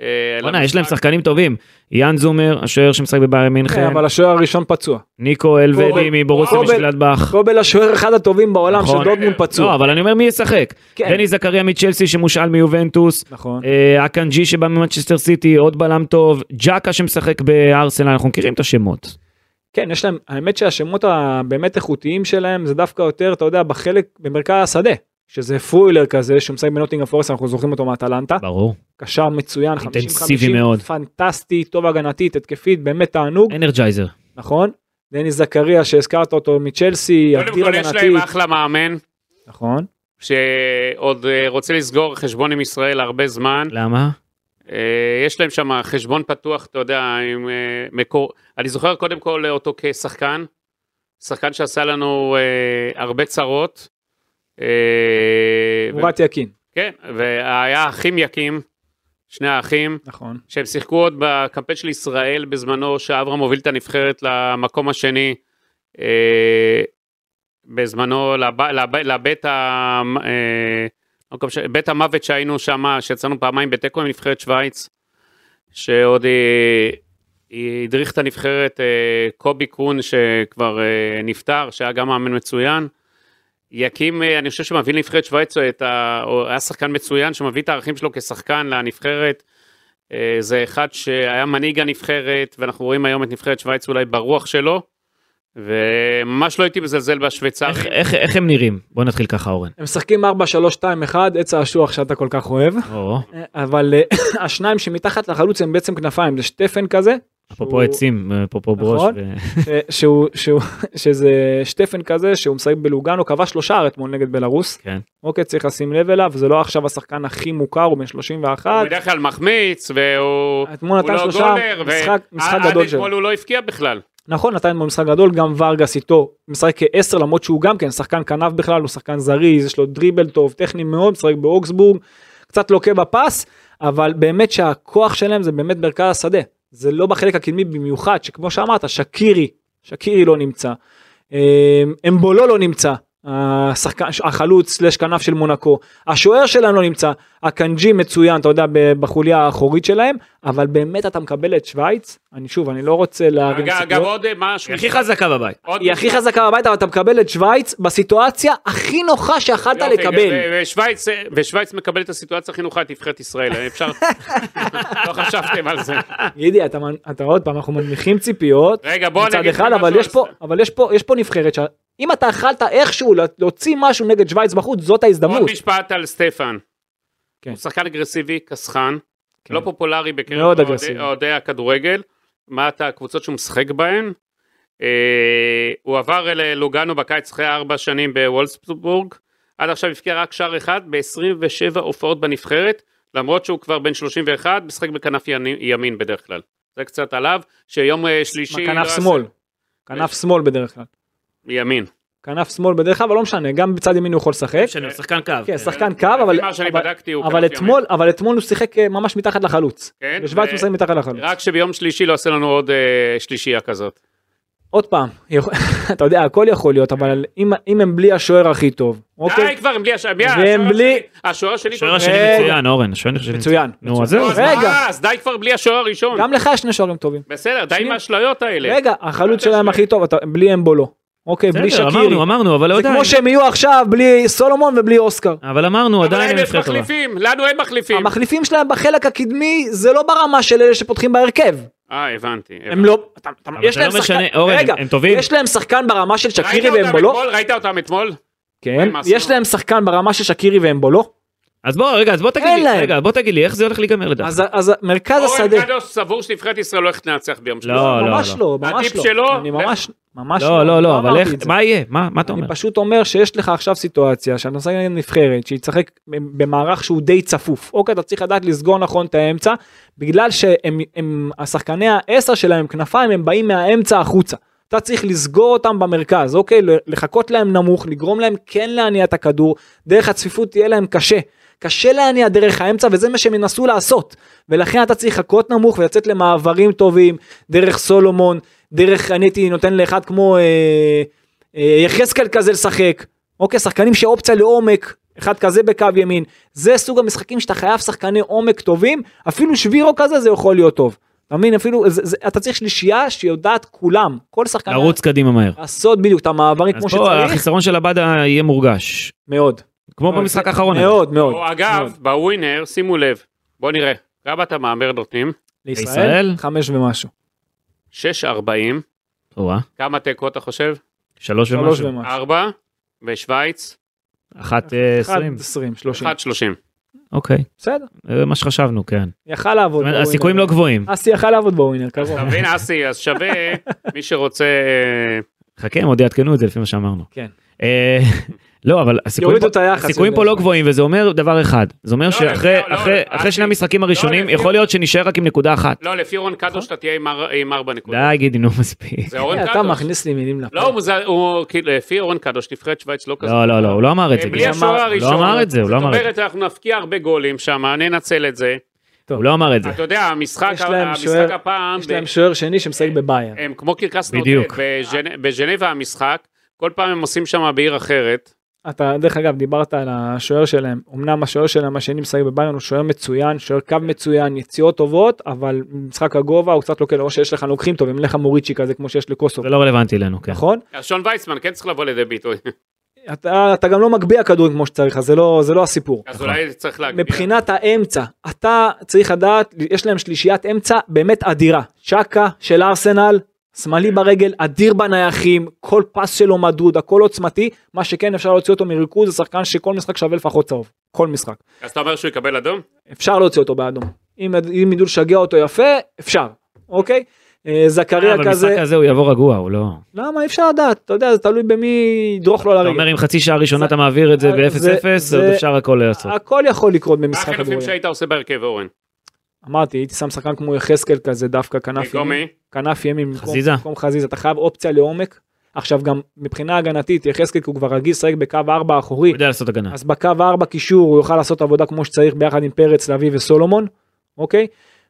S4: אה, על
S2: בואנה, יש להם
S4: המשחק.
S2: שחקנים טובים. יאן זומר, השוער שמשחק בבארי
S3: כן,
S2: מינכן,
S3: אבל השוער הראשון פצוע.
S2: ניקו אלוודי
S3: קובל,
S2: מבורוסיה
S3: קובל,
S2: משגלדבך.
S3: קובל השוער אחד הטובים בעולם
S2: נכון.
S3: של דודמונד
S2: לא,
S3: פצוע.
S2: אבל אני אומר מי ישחק.
S3: כן.
S2: דני זכריה מצ'לסי שמושאל מיובנטוס.
S3: נכון.
S2: אה, אקנג'י שבא ממנצ'סטר סיטי, עוד בלם טוב. ג'קה שמשחק בארסנל, אנחנו מכירים את השמות.
S3: כן, יש להם, האמת שהשמות הבאמת איכותיים שלהם זה דווקא יותר, אתה יודע, בחלק, במרכז השדה, שזה פרוילר כזה, שהוא משחק בנוטינג פורסט, אנחנו זוכרים אותו מאטלנטה,
S2: ברור.
S3: קשר מצוין, 50-50,
S2: אינטנסיבי מאוד.
S3: פנטסטי, טוב הגנתית, התקפית, באמת תענוג,
S2: אנרג'ייזר.
S3: נכון? דני זכריה שהזכרת אותו מצ'לסי,
S4: קודם
S3: אדיר
S4: כל יש להם
S3: הגנתית,
S4: אחלה מאמן,
S3: נכון?
S4: שעוד אה, רוצה לסגור חשבון עם ישראל הרבה זמן.
S2: למה?
S4: אה, יש להם שם חשבון פתוח, אתה יודע, עם אה, מקור... אני זוכר קודם כל אותו כשחקן, שחקן שעשה לנו אה, הרבה צרות. אה, ו-
S3: מורת יקין,
S4: כן, והיה אחים יקים, שני האחים,
S3: נכון.
S4: שהם שיחקו עוד בקמפיין של ישראל בזמנו, שאברהם הוביל את הנבחרת למקום השני, אה, בזמנו לב, לב, לבית ה, אה, מקום ש, בית המוות שהיינו שם, שיצאנו פעמיים בתיקו עם נבחרת שווייץ, שעוד אה, היא הדריך את הנבחרת אה, קובי קון שכבר אה, נפטר, שהיה גם מאמן מצוין. יקים, אה, אני חושב שמביא לנבחרת שווייץ, אה, את ה... או היה שחקן מצוין שמביא את הערכים שלו כשחקן לנבחרת. אה, זה אחד שהיה מנהיג הנבחרת, ואנחנו רואים היום את נבחרת שווייץ אולי ברוח שלו, וממש לא הייתי מזלזל בשוויצרים.
S2: איך- איך איך הם נראים? בוא נתחיל ככה אורן.
S3: הם משחקים 4, 3, 2, 1, עץ האשוח שאתה כל כך אוהב,
S2: או,
S3: אה, אבל אה, השניים שמתחת לחלוץ הם בעצם כנפיים, זה שטפן כזה,
S2: אפרופו
S3: שהוא-
S2: עצים, אפרופו ברוש.
S3: נכון.
S2: ו-
S3: אה, שהוא, שהוא, שזה שטפן כזה שהוא משחק בלוגאנו, כבש שלושה שער אתמול נגד בלארוס.
S2: כן.
S3: אוקיי, צריך לשים לב אליו, זה לא עכשיו השחקן הכי מוכר, הוא בן 31.
S4: הוא בדרך כלל מחמיץ, והוא הוא
S3: אתמול נתן
S4: לא
S3: שלושה,
S4: גולר,
S3: משחק- משחק
S4: עד
S3: גדול שלו.
S4: אתמול הוא לא הבקיע בכלל.
S3: נכון, נתן אתמול משחק גדול, גם ורגס איתו משחק כעשר, למרות שהוא גם כן שחקן כנף בכלל, הוא שחקן זריז, יש לו דריבל טוב, טכני מאוד, משחק באוגסבורג, קצת לוקה בפס, אבל באמת שהכוח שלהם זה באמת מרכז השדה. זה לא בחלק הקדמי במיוחד, שכמו שאמרת, שקירי, שקירי לא נמצא. אמ, אמבולו לא נמצא, השחקן, החלוץ סלש כנף של מונקו, השוער שלהם לא נמצא, הקנג'י מצוין, אתה יודע, ב- בחוליה האחורית שלהם, אבל באמת אתה מקבל את שווייץ, אני שוב, אני לא רוצה להרים
S4: אגב, אגב, עוד אה, משהו.
S2: היא הכי חזקה בבית.
S4: עוד-
S3: היא הכי חזקה בבית, אבל אתה מקבל את שווייץ בסיטואציה הכי נוחה שיכלת
S4: יופי,
S3: לקבל.
S4: ו- ושווייץ, אה, ושווייץ מקבלת את הסיטואציה הכי נוחה, את נבחרת ישראל, אה, אפשר... לא חשבתם על זה.
S3: גידי, אתה מנ- אתה עוד פעם, אנחנו מנמיכים ציפיות.
S4: רגע, בוא אני
S3: מצד
S4: אגיד...
S3: אחד,
S4: לך
S3: אבל
S4: משהו
S3: יש
S4: על-
S3: פה, אבל יש פה, יש פה נבחרת שאם אתה יכלת איכשהו לה- להוציא משהו נגד שווייץ בחוץ, זאת ההזדמנות.
S4: עוד משפט על סטפן.
S3: כן.
S4: הוא שחקן אגרסיבי, כסחן,
S3: כן.
S4: לא פופולרי בקרב
S3: מאוד
S4: אוהדי-
S3: אגרסיבי.
S4: אוהדי הכדורגל. מה את הקבוצות שהוא משחק בהן? אה, הוא עבר ללוגנו בקיץ אחרי ארבע שנים בוולסבורג. עד עכשיו הבקיע רק שער אחד ב-27 הופעות בנבחרת, למרות שהוא כבר בן 31, משחק בכנף יני- ימין בדרך כלל. זה קצת עליו, שיום אה, שלישי... לא
S3: כנף
S4: יעשה-
S3: שמאל. כנף שמאל בדרך כלל.
S4: ימין.
S3: כנף שמאל בדרך כלל, אבל לא משנה, גם בצד ימין הוא יכול לשחק.
S2: שאני שחקן קו.
S3: כן, שחקן קו, אבל-
S4: לפי מה שאני
S3: אבל-
S4: בדקתי הוא
S3: אבל
S4: כנף ימין.
S3: אתמול, אבל אתמול הוא שיחק אה, ממש מתחת לחלוץ.
S4: כן,
S3: ושווייץ
S4: ו-
S3: הוא משחק מתחת לחלוץ.
S4: רק שביום שלישי לא עושה לנו עוד אה, שלישייה כזאת.
S3: עוד פעם, יכול- אתה יודע, הכל יכול להיות, אבל אם- אם הם בלי השוער הכי טוב,
S4: די
S3: אוקיי?
S4: כבר, הם בלי השוער, מי
S3: והם
S4: השוער
S3: בלי-
S4: שלי? השוער שלי
S2: השוער
S4: כבר-
S2: השני
S3: רגע.
S2: מצוין, אורן, השוער השני
S3: מצוין.
S2: נו, אז
S4: נו,
S2: זהו.
S4: אז
S3: רגע.
S4: מה, אז די כבר בלי השוער הראשון.
S3: גם לך יש שני שוערים טובים.
S4: בסדר, די עם
S3: שנייה.
S4: האשליות האלה.
S3: רגע, החלוץ שלהם הכי טוב, אתה- בלי אמבולו. אוקיי, בלי
S2: בסדר,
S3: שקירי.
S2: אמרנו, אמרנו, אבל
S3: זה
S2: עדיין.
S3: כמו שהם יהיו עכשיו בלי סולומון ובלי אוסקר.
S2: אבל אמרנו,
S4: אבל
S2: עדיין
S4: להם
S2: הם
S4: יש
S2: נבחרת טובה.
S4: מחליפים, לנו אין מחליפים.
S3: המחליפים שלהם בחלק הקדמי זה לא ברמה של אלה שפותחים בהרכב.
S4: אה, הבנתי.
S3: הם לא... אתה- אתה-
S2: אבל
S3: יש
S2: זה לא
S3: להם שחקן...
S2: משנה, אורן,
S3: רגע,
S2: הם- הם טובים.
S3: יש להם שחקן ברמה של
S4: הבנתי.
S3: שקירי
S4: ראית אותם
S3: ואמבולו?
S4: אתמול? ראית אותם אתמול?
S3: כן.
S4: מה עשינו?
S3: יש להם שחקן ברמה של שקירי ואמבולו?
S2: אז בוא, רגע, אז בוא תגיד
S3: אין
S2: לי,
S3: להם.
S2: רגע, בוא תגיד לי, איך זה הולך להיגמר לדעתך?
S3: אז- אז מרכז השדה...
S4: אורן קדוש סבור שנבחרת ישראל לא הולכת לנצח ביום שלישי.
S2: לא, לא,
S3: ממש לא, ממש
S4: הטיפ
S3: לא.
S4: שלו-
S3: אני ממש... ממש
S2: לא, לא, לא, אבל
S3: אמרתי
S2: איך,
S3: את זה.
S2: מה יהיה? מה מה אתה אומר?
S3: אני פשוט אומר שיש לך עכשיו סיטואציה שאתה משחק נגד נבחרת שהיא תשחק במערך שהוא די צפוף. אוקיי, אתה צריך לדעת לסגור נכון את האמצע, בגלל שהם הם- השחקני העשר שלהם הם כנפיים, הם באים מהאמצע החוצה. אתה צריך לסגור אותם במרכז, אוקיי? ל- לחכות להם נמוך, לגרום להם כן להניע את הכדור, דרך הצפיפות תהיה להם קשה. קשה להניע דרך האמצע וזה מה שהם ינסו לעשות. ולכן אתה צריך לחכות נמוך ולצאת למעברים טובים, דרך סולומון, דרך, אני הייתי נותן לאחד כמו... אה, אה, יחזקאל כזה לשחק, אוקיי, שחקנים שאופציה לעומק, אחד כזה בקו ימין, זה סוג המשחקים שאתה חייב שחקני עומק טובים, אפילו שבירו כזה זה יכול להיות טוב. אתה מבין? אפילו, זה, זה, אתה צריך שלישייה שיודעת כולם, כל שחקן,
S2: לרוץ קדימה מהר.
S3: לעשות בדיוק את המעברים
S2: אז
S3: כמו
S2: פה
S3: שצריך,
S2: החיסרון של עבדה יהיה מורגש.
S3: מאוד.
S2: כמו
S3: מאוד.
S2: במשחק האחרון.
S3: מאוד, מאוד.
S4: או, אגב,
S3: מאוד.
S4: בווינר, שימו לב, בואו נראה. כמה את המאמר נותנים?
S3: לישראל,
S2: לישראל?
S3: חמש ומשהו.
S4: 6.40.
S2: או-אה,
S4: כמה תיקו אתה חושב?
S2: שלוש
S3: שלוש
S2: ומשהו.
S3: ומשהו.
S4: ארבע, בשוויץ,
S2: אחת אה,
S3: אחד,
S2: עשרים.
S3: עשרים, שלושים.
S4: אחת שלושים.
S2: אוקיי,
S3: בסדר,
S2: זה מה שחשבנו, כן.
S3: יכל לעבוד.
S2: זאת אומרת,
S3: בווינר.
S2: הסיכויים לא גבוהים.
S3: אסי יכל לעבוד בווינר, קרוב.
S4: אתה מבין אסי, אז שווה מי שרוצה... אה,
S2: חכה, הם עוד יעדכנו את זה לפי מה שאמרנו.
S3: כן.
S2: אה, לא, אבל הסיכויים
S3: יורידו
S2: פה-
S3: את היחס.
S2: הסיכויים פה
S3: יותר.
S2: לא גבוהים, וזה אומר דבר אחד. זה אומר
S4: לא,
S2: שאחרי
S4: לא, לא,
S2: אחרי-
S4: אל
S2: אחרי שני
S4: ת-
S2: המשחקים הראשונים,
S4: לא,
S2: יכול להיות שנישאר רק עם נקודה אחת.
S4: לא, לפי רון קדוש אתה תהיה עם אר- עם ארבע נקודות.
S2: די, גידי, נו, מספיק.
S4: זה אורן
S3: אה, אתה
S4: קדוש.
S3: מכניס לי מילים לפה.
S4: לא, הוא זה- הוא כאילו, לפי אורן קדוש, נבחרת שווייץ לא כזה.
S2: לא, לא, לא, הוא לא אמר את זה,
S4: בלי
S2: גידי.
S4: השוער
S3: אמר-
S4: הראשון.
S2: לא אמר את זה, הוא לא אמר את
S4: זאת
S2: זה.
S4: אומרת, אנחנו נפקיע הרבה גולים שם, ננצל את זה.
S2: הוא לא אמר את זה.
S4: אתה יודע, המשחק
S3: יש להם
S4: המשחק
S3: שוער-
S4: הפעם,
S3: יש
S4: ב-
S3: להם שוער שני שמשחק בבייר.
S4: הם כמו קרקס נוטט,
S2: בדיוק.
S4: בז'נ- בז'נבה המשחק, כל פעם הם עושים שם בעיר אחרת.
S3: אתה, דרך אגב, דיברת על השוער שלהם. אמנם השוער שלהם השני משחק בבייר הוא שוער מצוין, שוער קו מצוין, יציאות טובות, אבל משחק הגובה הוא קצת לוקח, או שיש לך לוקחים טובים, לך מוריצ'י כזה כמו שיש לקוסוב,
S2: זה לא רלוונטי לנו, כן.
S3: נכון?
S4: אז שון ויצמן כן צריך לבוא לידי ביטוי,
S3: אתה, אתה גם לא מגביה כדורים כמו שצריך, אז זה לא, זה לא הסיפור.
S2: נכון.
S4: אז אולי צריך להגביר.
S3: מבחינת האמצע, אתה צריך לדעת, יש להם שלישיית אמצע באמת אדירה. צ'אקה של ארסנל, שמאלי ברגל, אדיר בנייחים, כל פס שלו מדוד, הכל עוצמתי, מה שכן אפשר להוציא אותו מריכוז, זה שחקן שכל משחק שווה לפחות צהוב, כל משחק.
S4: אז אתה אומר שהוא יקבל אדום?
S3: אפשר להוציא אותו באדום. אם, אם ידעו לשגע אותו יפה, אפשר, אוקיי? אה,
S2: אבל
S3: זכריה
S2: במשחק
S3: כזה,
S2: הזה הוא יבוא רגוע, הוא לא...
S3: למה אי אפשר לדעת, אתה יודע, זה תלוי במי ידרוך לו על
S2: אתה
S3: הרגל.
S2: אומר אם חצי שעה ראשונה אתה מעביר את זה
S3: זה-
S2: ב-0-0,
S3: זה-
S2: עוד אפשר הכל לעשות.
S3: הכל יכול לקרות
S4: מה
S3: במשחק
S4: החילופים
S3: כדורגל.
S4: אה, כן, שהיית עושה בהרכב אורן?
S3: אמרתי, הייתי שם שחקן כמו יחזקאל כזה, דווקא כנף ימין.
S4: גומי?
S3: כנף ימין במקום-
S2: חזיזה.
S3: במקום חזיזה, אתה חייב אופציה לעומק. עכשיו גם מבחינה הגנתית, יחזקאל כי הוא כבר רגיל לשחק בקו 4 האחורי,
S2: הוא יודע לעשות הגנה.
S3: אז בקו 4 קישור הוא יוכל לעשות עבודה כמו שצריך ביחד עם פרץ, לביא וסולומון, אוקיי?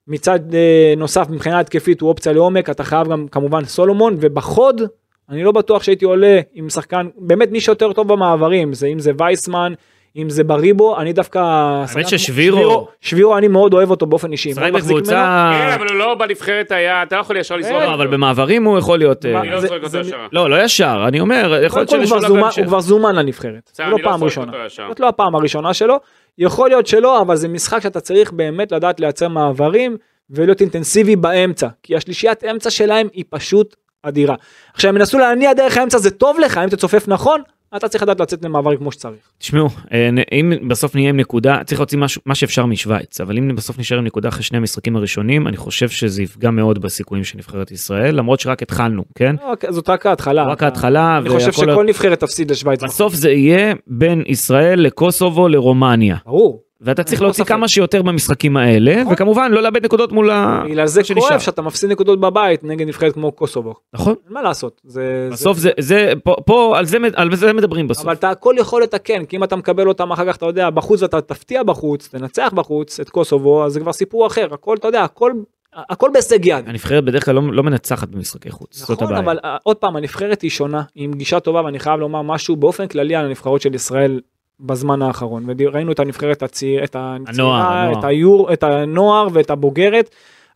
S3: מצד אה, נוסף מבחינה התקפית הוא אופציה לעומק, אתה חייב גם כמובן סולומון, ובחוד אני לא בטוח שהייתי עולה עם שחקן, באמת מי שיותר טוב במעברים, זה אם זה וייסמן, אם זה בריבו, אני דווקא... שחקן כמו-
S2: ששבירו-
S3: שבירו, שבירו, אני מאוד אוהב אותו באופן אישי.
S2: משחק
S3: מאוד מחזיק ממנו. אה,
S2: בקבוצה...
S4: כן, אבל הוא לא בנבחרת היה, אתה לא יכול ישר לזרוק.
S2: לא,
S4: אותו.
S2: אבל במעברים הוא יכול להיות... אה,
S4: אני לא
S3: זה-
S4: זורק אותו
S3: זה-
S4: ישר.
S2: לא, לא ישר, אני אומר, יכול
S3: קודם
S2: להיות לא
S3: כל הוא כבר
S2: שנשולב
S3: זומן- הוא
S2: בהמשך.
S3: כבר זומן לנבחרת, זה
S4: בסדר,
S3: לא
S4: אני
S3: פעם
S4: זורק
S3: ראשונה.
S4: אותו ישר.
S3: זאת לא הפעם הראשונה שלו, יכול להיות שלא, אבל זה משחק שאתה צריך באמת לדעת לייצר מעברים ולהיות אינטנסיבי באמצע, כי השלישיית אמצע שלהם היא פשוט אדירה. עכשיו הם ינסו להניע דרך האמצע זה טוב לך, אם תצופף נכון, אתה צריך לדעת לצאת למעברים כמו שצריך.
S2: תשמעו, אה, נ- אם בסוף נהיה עם נקודה, צריך להוציא משהו- מה שאפשר משוויץ, אבל אם בסוף נשאר עם נקודה אחרי שני המשחקים הראשונים, אני חושב שזה יפגע מאוד בסיכויים של נבחרת ישראל, למרות שרק התחלנו, כן?
S3: אוקיי, זאת רק ההתחלה.
S2: רק ההתחלה,
S3: אני חושב
S2: והכל-
S3: שכל נבחרת תפסיד לשוויץ.
S2: בסוף זה יהיה בין ישראל לקוסובו לרומניה.
S3: ברור.
S2: ואתה צריך
S3: אין
S2: להוציא
S3: ספק.
S2: כמה שיותר במשחקים האלה,
S3: נכון.
S2: וכמובן לא לאבד נקודות מול ה...
S3: בגלל זה
S2: שנשאר.
S3: כואב שאתה מפסיד נקודות בבית נגד נבחרת כמו קוסובו.
S2: נכון.
S3: אין מה לעשות. זה- זה-
S2: בסוף זה, זה, פה, פה על, זה, על זה מדברים בסוף.
S3: אבל אתה הכל יכול לתקן, כי אם אתה מקבל אותם אחר כך, אתה יודע, בחוץ ואתה תפתיע בחוץ, תנצח בחוץ את קוסובו, אז זה כבר סיפור אחר, הכל, אתה יודע, הכל, הכל בהישג יד.
S2: הנבחרת בדרך כלל לא, לא מנצחת במשחקי חוץ, זאת
S3: נכון,
S2: הבעיה.
S3: אבל אה, עוד פעם, הנבחרת היא שונה, היא עם גישה טובה, ואני חייב לומר משהו באופן כללי על הנבחרות של ישראל בזמן האחרון, וראינו את הנבחרת הצעיר, את הצעירה,
S2: הנוער.
S3: את, היור, את הנוער ואת הבוגרת,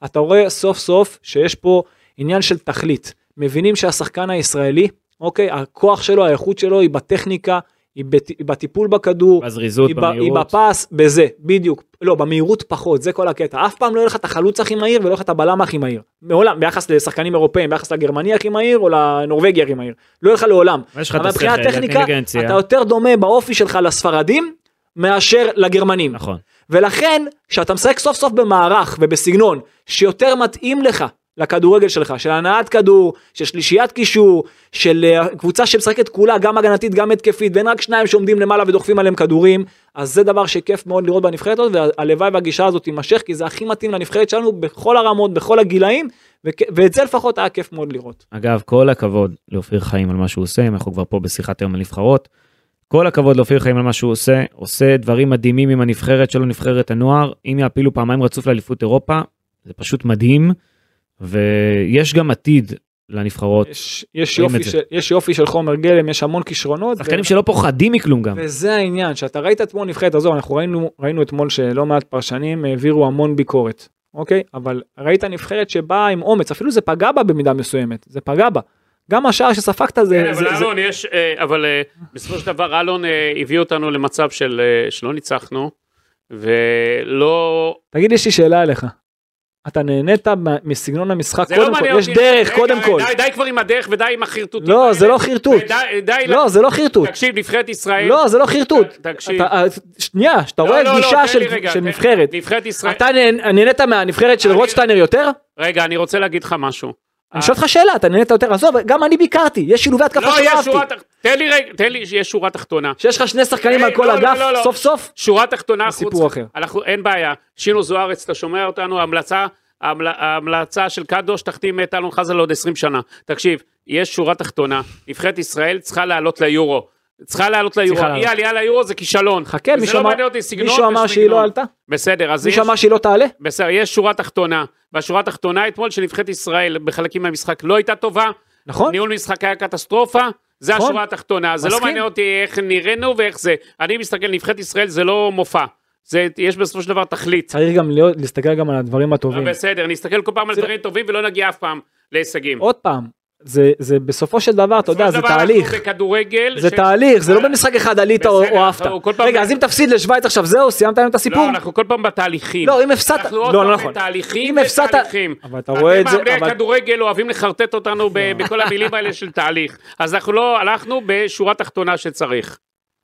S3: אתה רואה סוף סוף שיש פה עניין של תכלית, מבינים שהשחקן הישראלי, אוקיי, הכוח שלו, האיכות שלו היא בטכניקה, היא בת- היא בטיפול בכדור,
S2: בזריזות,
S3: היא ב- היא
S2: במהירות.
S3: בפס, בזה, בדיוק. לא, במהירות פחות, זה כל הקטע. אף פעם לא יהיה לך את החלוץ הכי מהיר ולא יהיה לך את הבלם הכי מהיר. מעולם, ביחס לשחקנים אירופאים, ביחס לגרמני הכי מהיר או לנורבגי הכי מהיר. לא יהיה לך לעולם.
S2: אבל יש לך את
S3: אבל מבחינת
S2: השכל,
S3: טכניקה,
S2: האינטליגנציה.
S3: אתה יותר דומה באופי שלך לספרדים מאשר לגרמנים.
S2: נכון.
S3: ולכן, כשאתה משחק סוף סוף במערך ובסגנון שיותר מתאים לך לכדורגל שלך, של הנעת כדור, של שלישיית קישור, של אה, קבוצה שמשחקת כולה, גם הגנתית, גם התקפית, ואין רק שניים שעומדים למעלה ודוחפים עליהם כדורים, אז זה דבר שכיף מאוד לראות בנבחרת הזאת, והלוואי והגישה הזאת תימשך, כי זה הכי מתאים לנבחרת שלנו בכל הרמות, בכל הגילאים, וכ- ואת זה לפחות היה כיף מאוד לראות.
S2: אגב, כל הכבוד לאופיר חיים על מה שהוא עושה, אם אנחנו כבר פה בשיחת היום על נבחרות. כל הכבוד לאופיר חיים על מה שהוא עושה, עושה דברים מדהימים עם הנבחרת שלו, נבחרת הנוער. אם יעפילו פעמיים רצוף לאליפות אירופה, זה פשוט מדהים. ויש גם עתיד לנבחרות.
S3: יש, יש,
S2: רואים את
S3: יופי,
S2: זה.
S3: של, יש יופי של חומר גלם, יש המון כישרונות.
S2: שחקנים שלא פוחדים מכלום
S4: נכון.
S2: גם.
S3: וזה העניין, שאתה ראית אתמול נבחרת, עזוב, אנחנו ראינו, ראינו אתמול שלא מעט פרשנים אה, העבירו המון ביקורת, אוקיי? אבל ראית נבחרת שבאה עם אומץ, אפילו זה פגע בה במידה מסוימת, זה פגע בה. גם השער שספגת זה...
S4: כן,
S3: זה,
S4: אבל
S3: זה...
S4: אלון יש, אה, אבל אה, בסופו של דבר אלון אה, הביא אותנו למצב של אה, שלא ניצחנו, ולא,
S3: תגיד, יש לי שאלה אליך. אתה נהנית מה- מסגנון המשחק
S4: זה לא
S3: קודם כל,
S4: מעניין
S3: יש
S4: אותי.
S3: דרך
S4: רגע,
S3: קודם כל.
S4: די- די כבר עם הדרך ודי עם החרטוטים.
S3: לא,
S4: האלה.
S3: זה לא חרטוט.
S4: ודי- די ל-
S3: לא, זה לא חרטוט.
S4: תקשיב, נבחרת ישראל...
S3: לא, זה לא חרטוט.
S4: תקשיב.
S3: אתה- אה, שנייה, שאתה
S4: לא,
S3: רואה
S4: לא, לא,
S3: גישה
S4: תן לי
S3: של-
S4: רגע,
S3: של
S4: תן-
S3: נבחרת.
S4: נבחרת ישראל...
S3: אתה נה- נהנית מהנבחרת של
S4: אני-
S3: רוטשטיינר יותר?
S4: רגע, אני רוצה להגיד לך משהו.
S3: אני שואל אותך שאלה, אתה נהנית יותר? עזוב, גם אני ביקרתי, יש שילובי התקפה
S4: לא,
S3: שלא
S4: יש
S3: אהבתי.
S4: שורה תחתונה. תן לי רגע, תן לי, יש שורה תחתונה.
S3: שיש לך שני שחקנים
S4: אה,
S3: על כל
S4: לא, לא,
S3: אגף,
S4: לא, לא.
S3: סוף סוף?
S4: שורה תחתונה,
S3: זה סיפור
S4: אנחנו צריכים-
S3: אחר.
S4: אנחנו, אין בעיה. שינו זוארץ, אתה שומע אותנו, המלצה, המל- ההמלצה של קדוש, תחתים את אלון חזן לעוד 20 שנה. תקשיב, יש שורה תחתונה, נבחרת ישראל צריכה לעלות ליורו. צריכה לעלות ליורו,
S3: לעלות.
S4: אי עלייה ליורו זה כישלון.
S3: חכה,
S4: וזה
S3: מישהו
S4: לא
S3: אמר-
S4: מעניין אותי סגנון
S3: מישהו אמר שהיא
S4: וסגנון.
S3: לא עלתה?
S4: בסדר, אז יש,
S3: מישהו אמר שהיא לא תעלה?
S4: בסדר, יש שורה תחתונה. והשורה התחתונה אתמול שנבחרת ישראל בחלקים מהמשחק לא הייתה טובה,
S3: נכון?
S4: ניהול משחק היה קטסטרופה, זה
S3: נכון.
S4: השורה התחתונה, זה לא
S3: מסכים.
S4: מעניין אותי איך נראינו ואיך זה. אני מסתכל, נבחרת ישראל זה לא מופע, זה, יש בסופו של דבר תכלית.
S3: צריך גם להיות- להסתכל גם על הדברים
S4: אבל
S3: הטובים.
S4: בסדר, נסתכל כל פעם על
S3: זה-
S4: דברים טובים ולא נגיע אף פעם להישגים.
S3: עוד פעם, זה- זה בסופו של דבר, אתה יודע,
S4: בסופו
S3: זה
S4: של דבר אנחנו
S3: תהליך.
S4: בכדורגל,
S3: זה
S4: ש- אה,
S3: תהליך, זה לא במשחק אחד עלית או
S4: בסדר,
S3: או אהבת.
S4: אנחנו כל פעם-
S3: רגע, אז אם תפסיד לשוויץ עכשיו, זהו, סיימת היום את הסיפור?
S4: לא, אנחנו כל פעם בתהליכים.
S3: לא, אם הפסדת-
S4: אנחנו עוד
S3: לא,
S4: פעם
S3: לא נכון.
S4: בתהליכים
S3: אם הפסדת-
S4: ותהליכים.
S3: אבל אתה רואה את זה,
S4: אתם מאמני
S3: אבל-
S4: הכדורגל אוהבים לחרטט אותנו ב- בכל המילים האלה של תהליך. אז אנחנו לא, הלכנו בשורה תחתונה שצריך.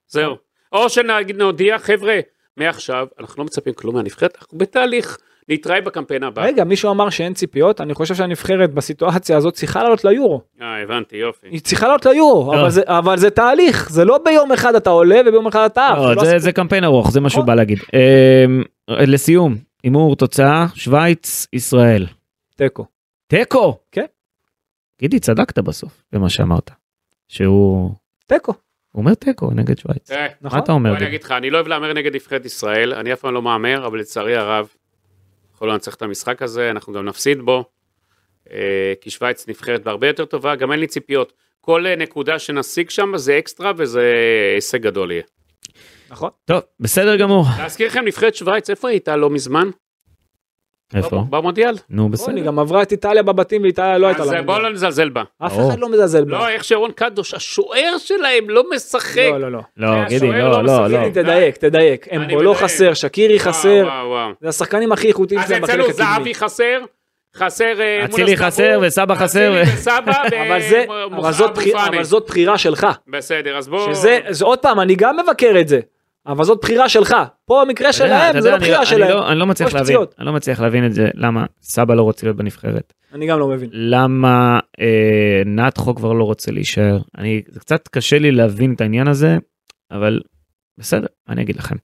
S4: זהו. או שנגיד נודיע, חבר'ה, מעכשיו, אנחנו לא מצפים כלום מהנבחרת, אנחנו בתהליך. נתראה בקמפיין הבא.
S3: רגע, מישהו אמר שאין ציפיות, אני חושב שהנבחרת בסיטואציה הזאת צריכה לעלות ליורו.
S4: אה, הבנתי, יופי.
S3: היא צריכה לעלות ליורו,
S2: לא.
S3: אבל זה- אבל זה תהליך, זה לא ביום אחד אתה עולה וביום אחד אתה עף.
S2: לא,
S3: לא
S2: זה-
S3: הסיפור.
S2: זה קמפיין ארוך, זה מה שהוא בא להגיד. אמ, לסיום, הימור תוצאה, שווייץ, ישראל.
S3: תיקו.
S2: תיקו!
S3: כן.
S2: גידי, צדקת בסוף במה שאמרת. שהוא
S3: תיקו,
S2: הוא אומר תיקו נגד שווייץ.
S4: תראה,
S2: מה
S3: נכון?
S2: אתה אומר?
S4: בוא אני
S2: גידי?
S4: אגיד לך, אני לא אוהב להמר נגד נבחרת ישראל, אני אף פעם לא מהמר, אבל לצערי הרב, יכול לא נצטרך את המשחק הזה, אנחנו גם נפסיד בו, אה, כי שווייץ נבחרת בהרבה יותר טובה, גם אין לי ציפיות. כל אה, נקודה שנשיג שם זה אקסטרה וזה הישג גדול יהיה.
S3: נכון.
S2: טוב, בסדר גמור.
S4: להזכיר לכם, נבחרת שווייץ, איפה היא הייתה לא מזמן?
S3: לא,
S2: איפה?
S4: ב- במונדיאל.
S2: נו,
S3: בסדר. היא
S2: בסדר.
S3: גם עברה את איטליה בבתים ואיטליה לא הייתה
S4: אז
S3: לה.
S4: אה, בואו לא נזלזל בה.
S3: אף
S2: ברור.
S3: אחד לא מזלזל בה.
S4: לא, איך שרון קדוש, השוער שלהם לא משחק.
S3: לא, לא, לא.
S2: לא, גידי,
S4: השוער
S2: לא,
S4: לא
S2: לא,
S4: מספיק.
S2: לא.
S3: גידי, תדייק, תדייק.
S4: אני
S3: אמבולו
S4: מדייק.
S3: חסר, שקירי
S4: וואו,
S3: חסר.
S4: וואו, וואו.
S3: זה השחקנים הכי איכותיים
S4: אז
S3: שלהם
S4: אצלנו
S3: בחלק הקדמי.
S4: זהבי חסר, חסר... אה, מול
S2: אצילי
S4: הסטבור,
S2: חסר וסבא חסר ו-
S4: אצילי וסבא
S3: אבל זה,
S4: ומוחמד
S3: אבל זאת בחיר-
S4: אבו פאני.
S3: אבל זאת בחירה שלך.
S4: בסדר, אז בואו...
S3: שזה, זה- עוד פעם, אני גם מבקר את זה. אבל זאת בחירה שלך. פה המקרה
S2: אתה יודע,
S3: שלהם,
S2: אתה
S3: זה לא
S2: יודע, אני-
S3: בחירה
S2: אני
S3: שלהם.
S2: לא- אני לא מצליח
S3: יש
S2: להבין,
S3: פציעות.
S2: אני לא מצליח להבין את זה, למה סבא לא רוצה להיות בנבחרת,
S3: אני גם לא מבין.
S2: למה אה, נתחו כבר לא רוצה להישאר, אני, זה קצת קשה לי להבין את העניין הזה, אבל בסדר, מה אני אגיד לכם.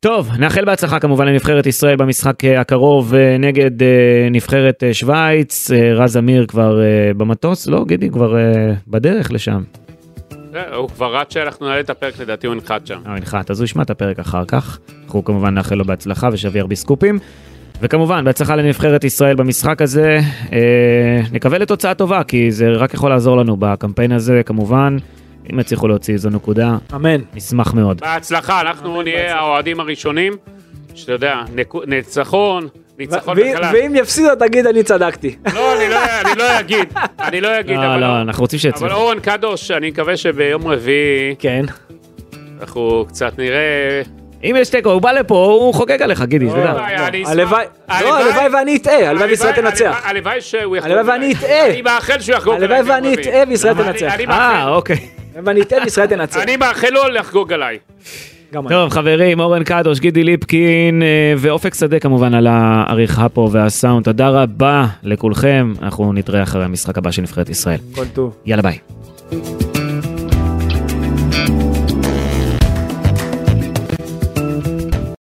S2: טוב, נאחל בהצלחה כמובן לנבחרת ישראל במשחק אה, הקרוב אה, נגד אה, נבחרת אה, שווייץ, אה, רז אמיר כבר אה, במטוס, לא גידי, כבר אה, בדרך לשם.
S4: אה, הוא כבר רץ שאנחנו נעלה את הפרק, לדעתי הוא ינחת שם.
S2: אה, ינחת, אז הוא ישמע את הפרק אחר כך. אנחנו כמובן נאחל לו בהצלחה ושביא הרבה סקופים. וכמובן, בהצלחה לנבחרת ישראל במשחק הזה. אה, נקווה לתוצאה טובה, כי זה רק יכול לעזור לנו בקמפיין הזה, כמובן. אם יצליחו להוציא איזו נקודה,
S3: אמן.
S2: נשמח מאוד.
S4: בהצלחה,
S3: אה,
S4: אנחנו נהיה האוהדים הראשונים, שאתה יודע, נקו- ניצחון,
S3: ו-
S4: ניצחון
S3: ואם-
S4: בכלל.
S3: ואם יפסידו, תגיד, אני צדקתי.
S4: לא, אני לא- אני לא אגיד, אני לא אגיד,
S2: לא,
S4: אבל-
S2: לא, אנחנו רוצים
S4: אבל
S2: שיצליחו.
S4: אורן קדוש, אני מקווה שביום רביעי
S3: כן.
S4: אנחנו קצת נראה...
S2: אם יש תיקו, הוא בא לפה, הוא חוגג עליך, גידי,
S4: לא
S2: שתדע.
S4: בעיה, אני אשמח.
S3: הלוואי, לא,
S4: הלוואי-
S3: הלוואי ואני אטעה, הלוואי וישראל
S4: הלוואי-
S3: תנצח.
S4: הלוואי שהוא יחגוג.
S3: הלוואי
S4: עליי.
S3: ואני אטעה.
S4: אני מאחל שהוא יחגוג.
S3: הלוואי
S4: עליי ביום
S3: ואני
S4: רביעי.
S3: אטעה וישראל
S4: אני-
S3: תנצח. אוקיי.
S4: אני מאחל-
S2: אה, אוקיי.
S3: ואני אטעה וישראל תנצח.
S4: אני מאחל לו לחגוג עליי.
S3: גם אני.
S2: טוב חברים אורן קדוש גידי ליפקין אה, ואופק שדה כמובן על העריכה פה והסאונד תודה רבה לכולכם אנחנו נתראה אחרי המשחק הבא של נבחרת ישראל
S3: כל טוב.
S2: יאללה ביי.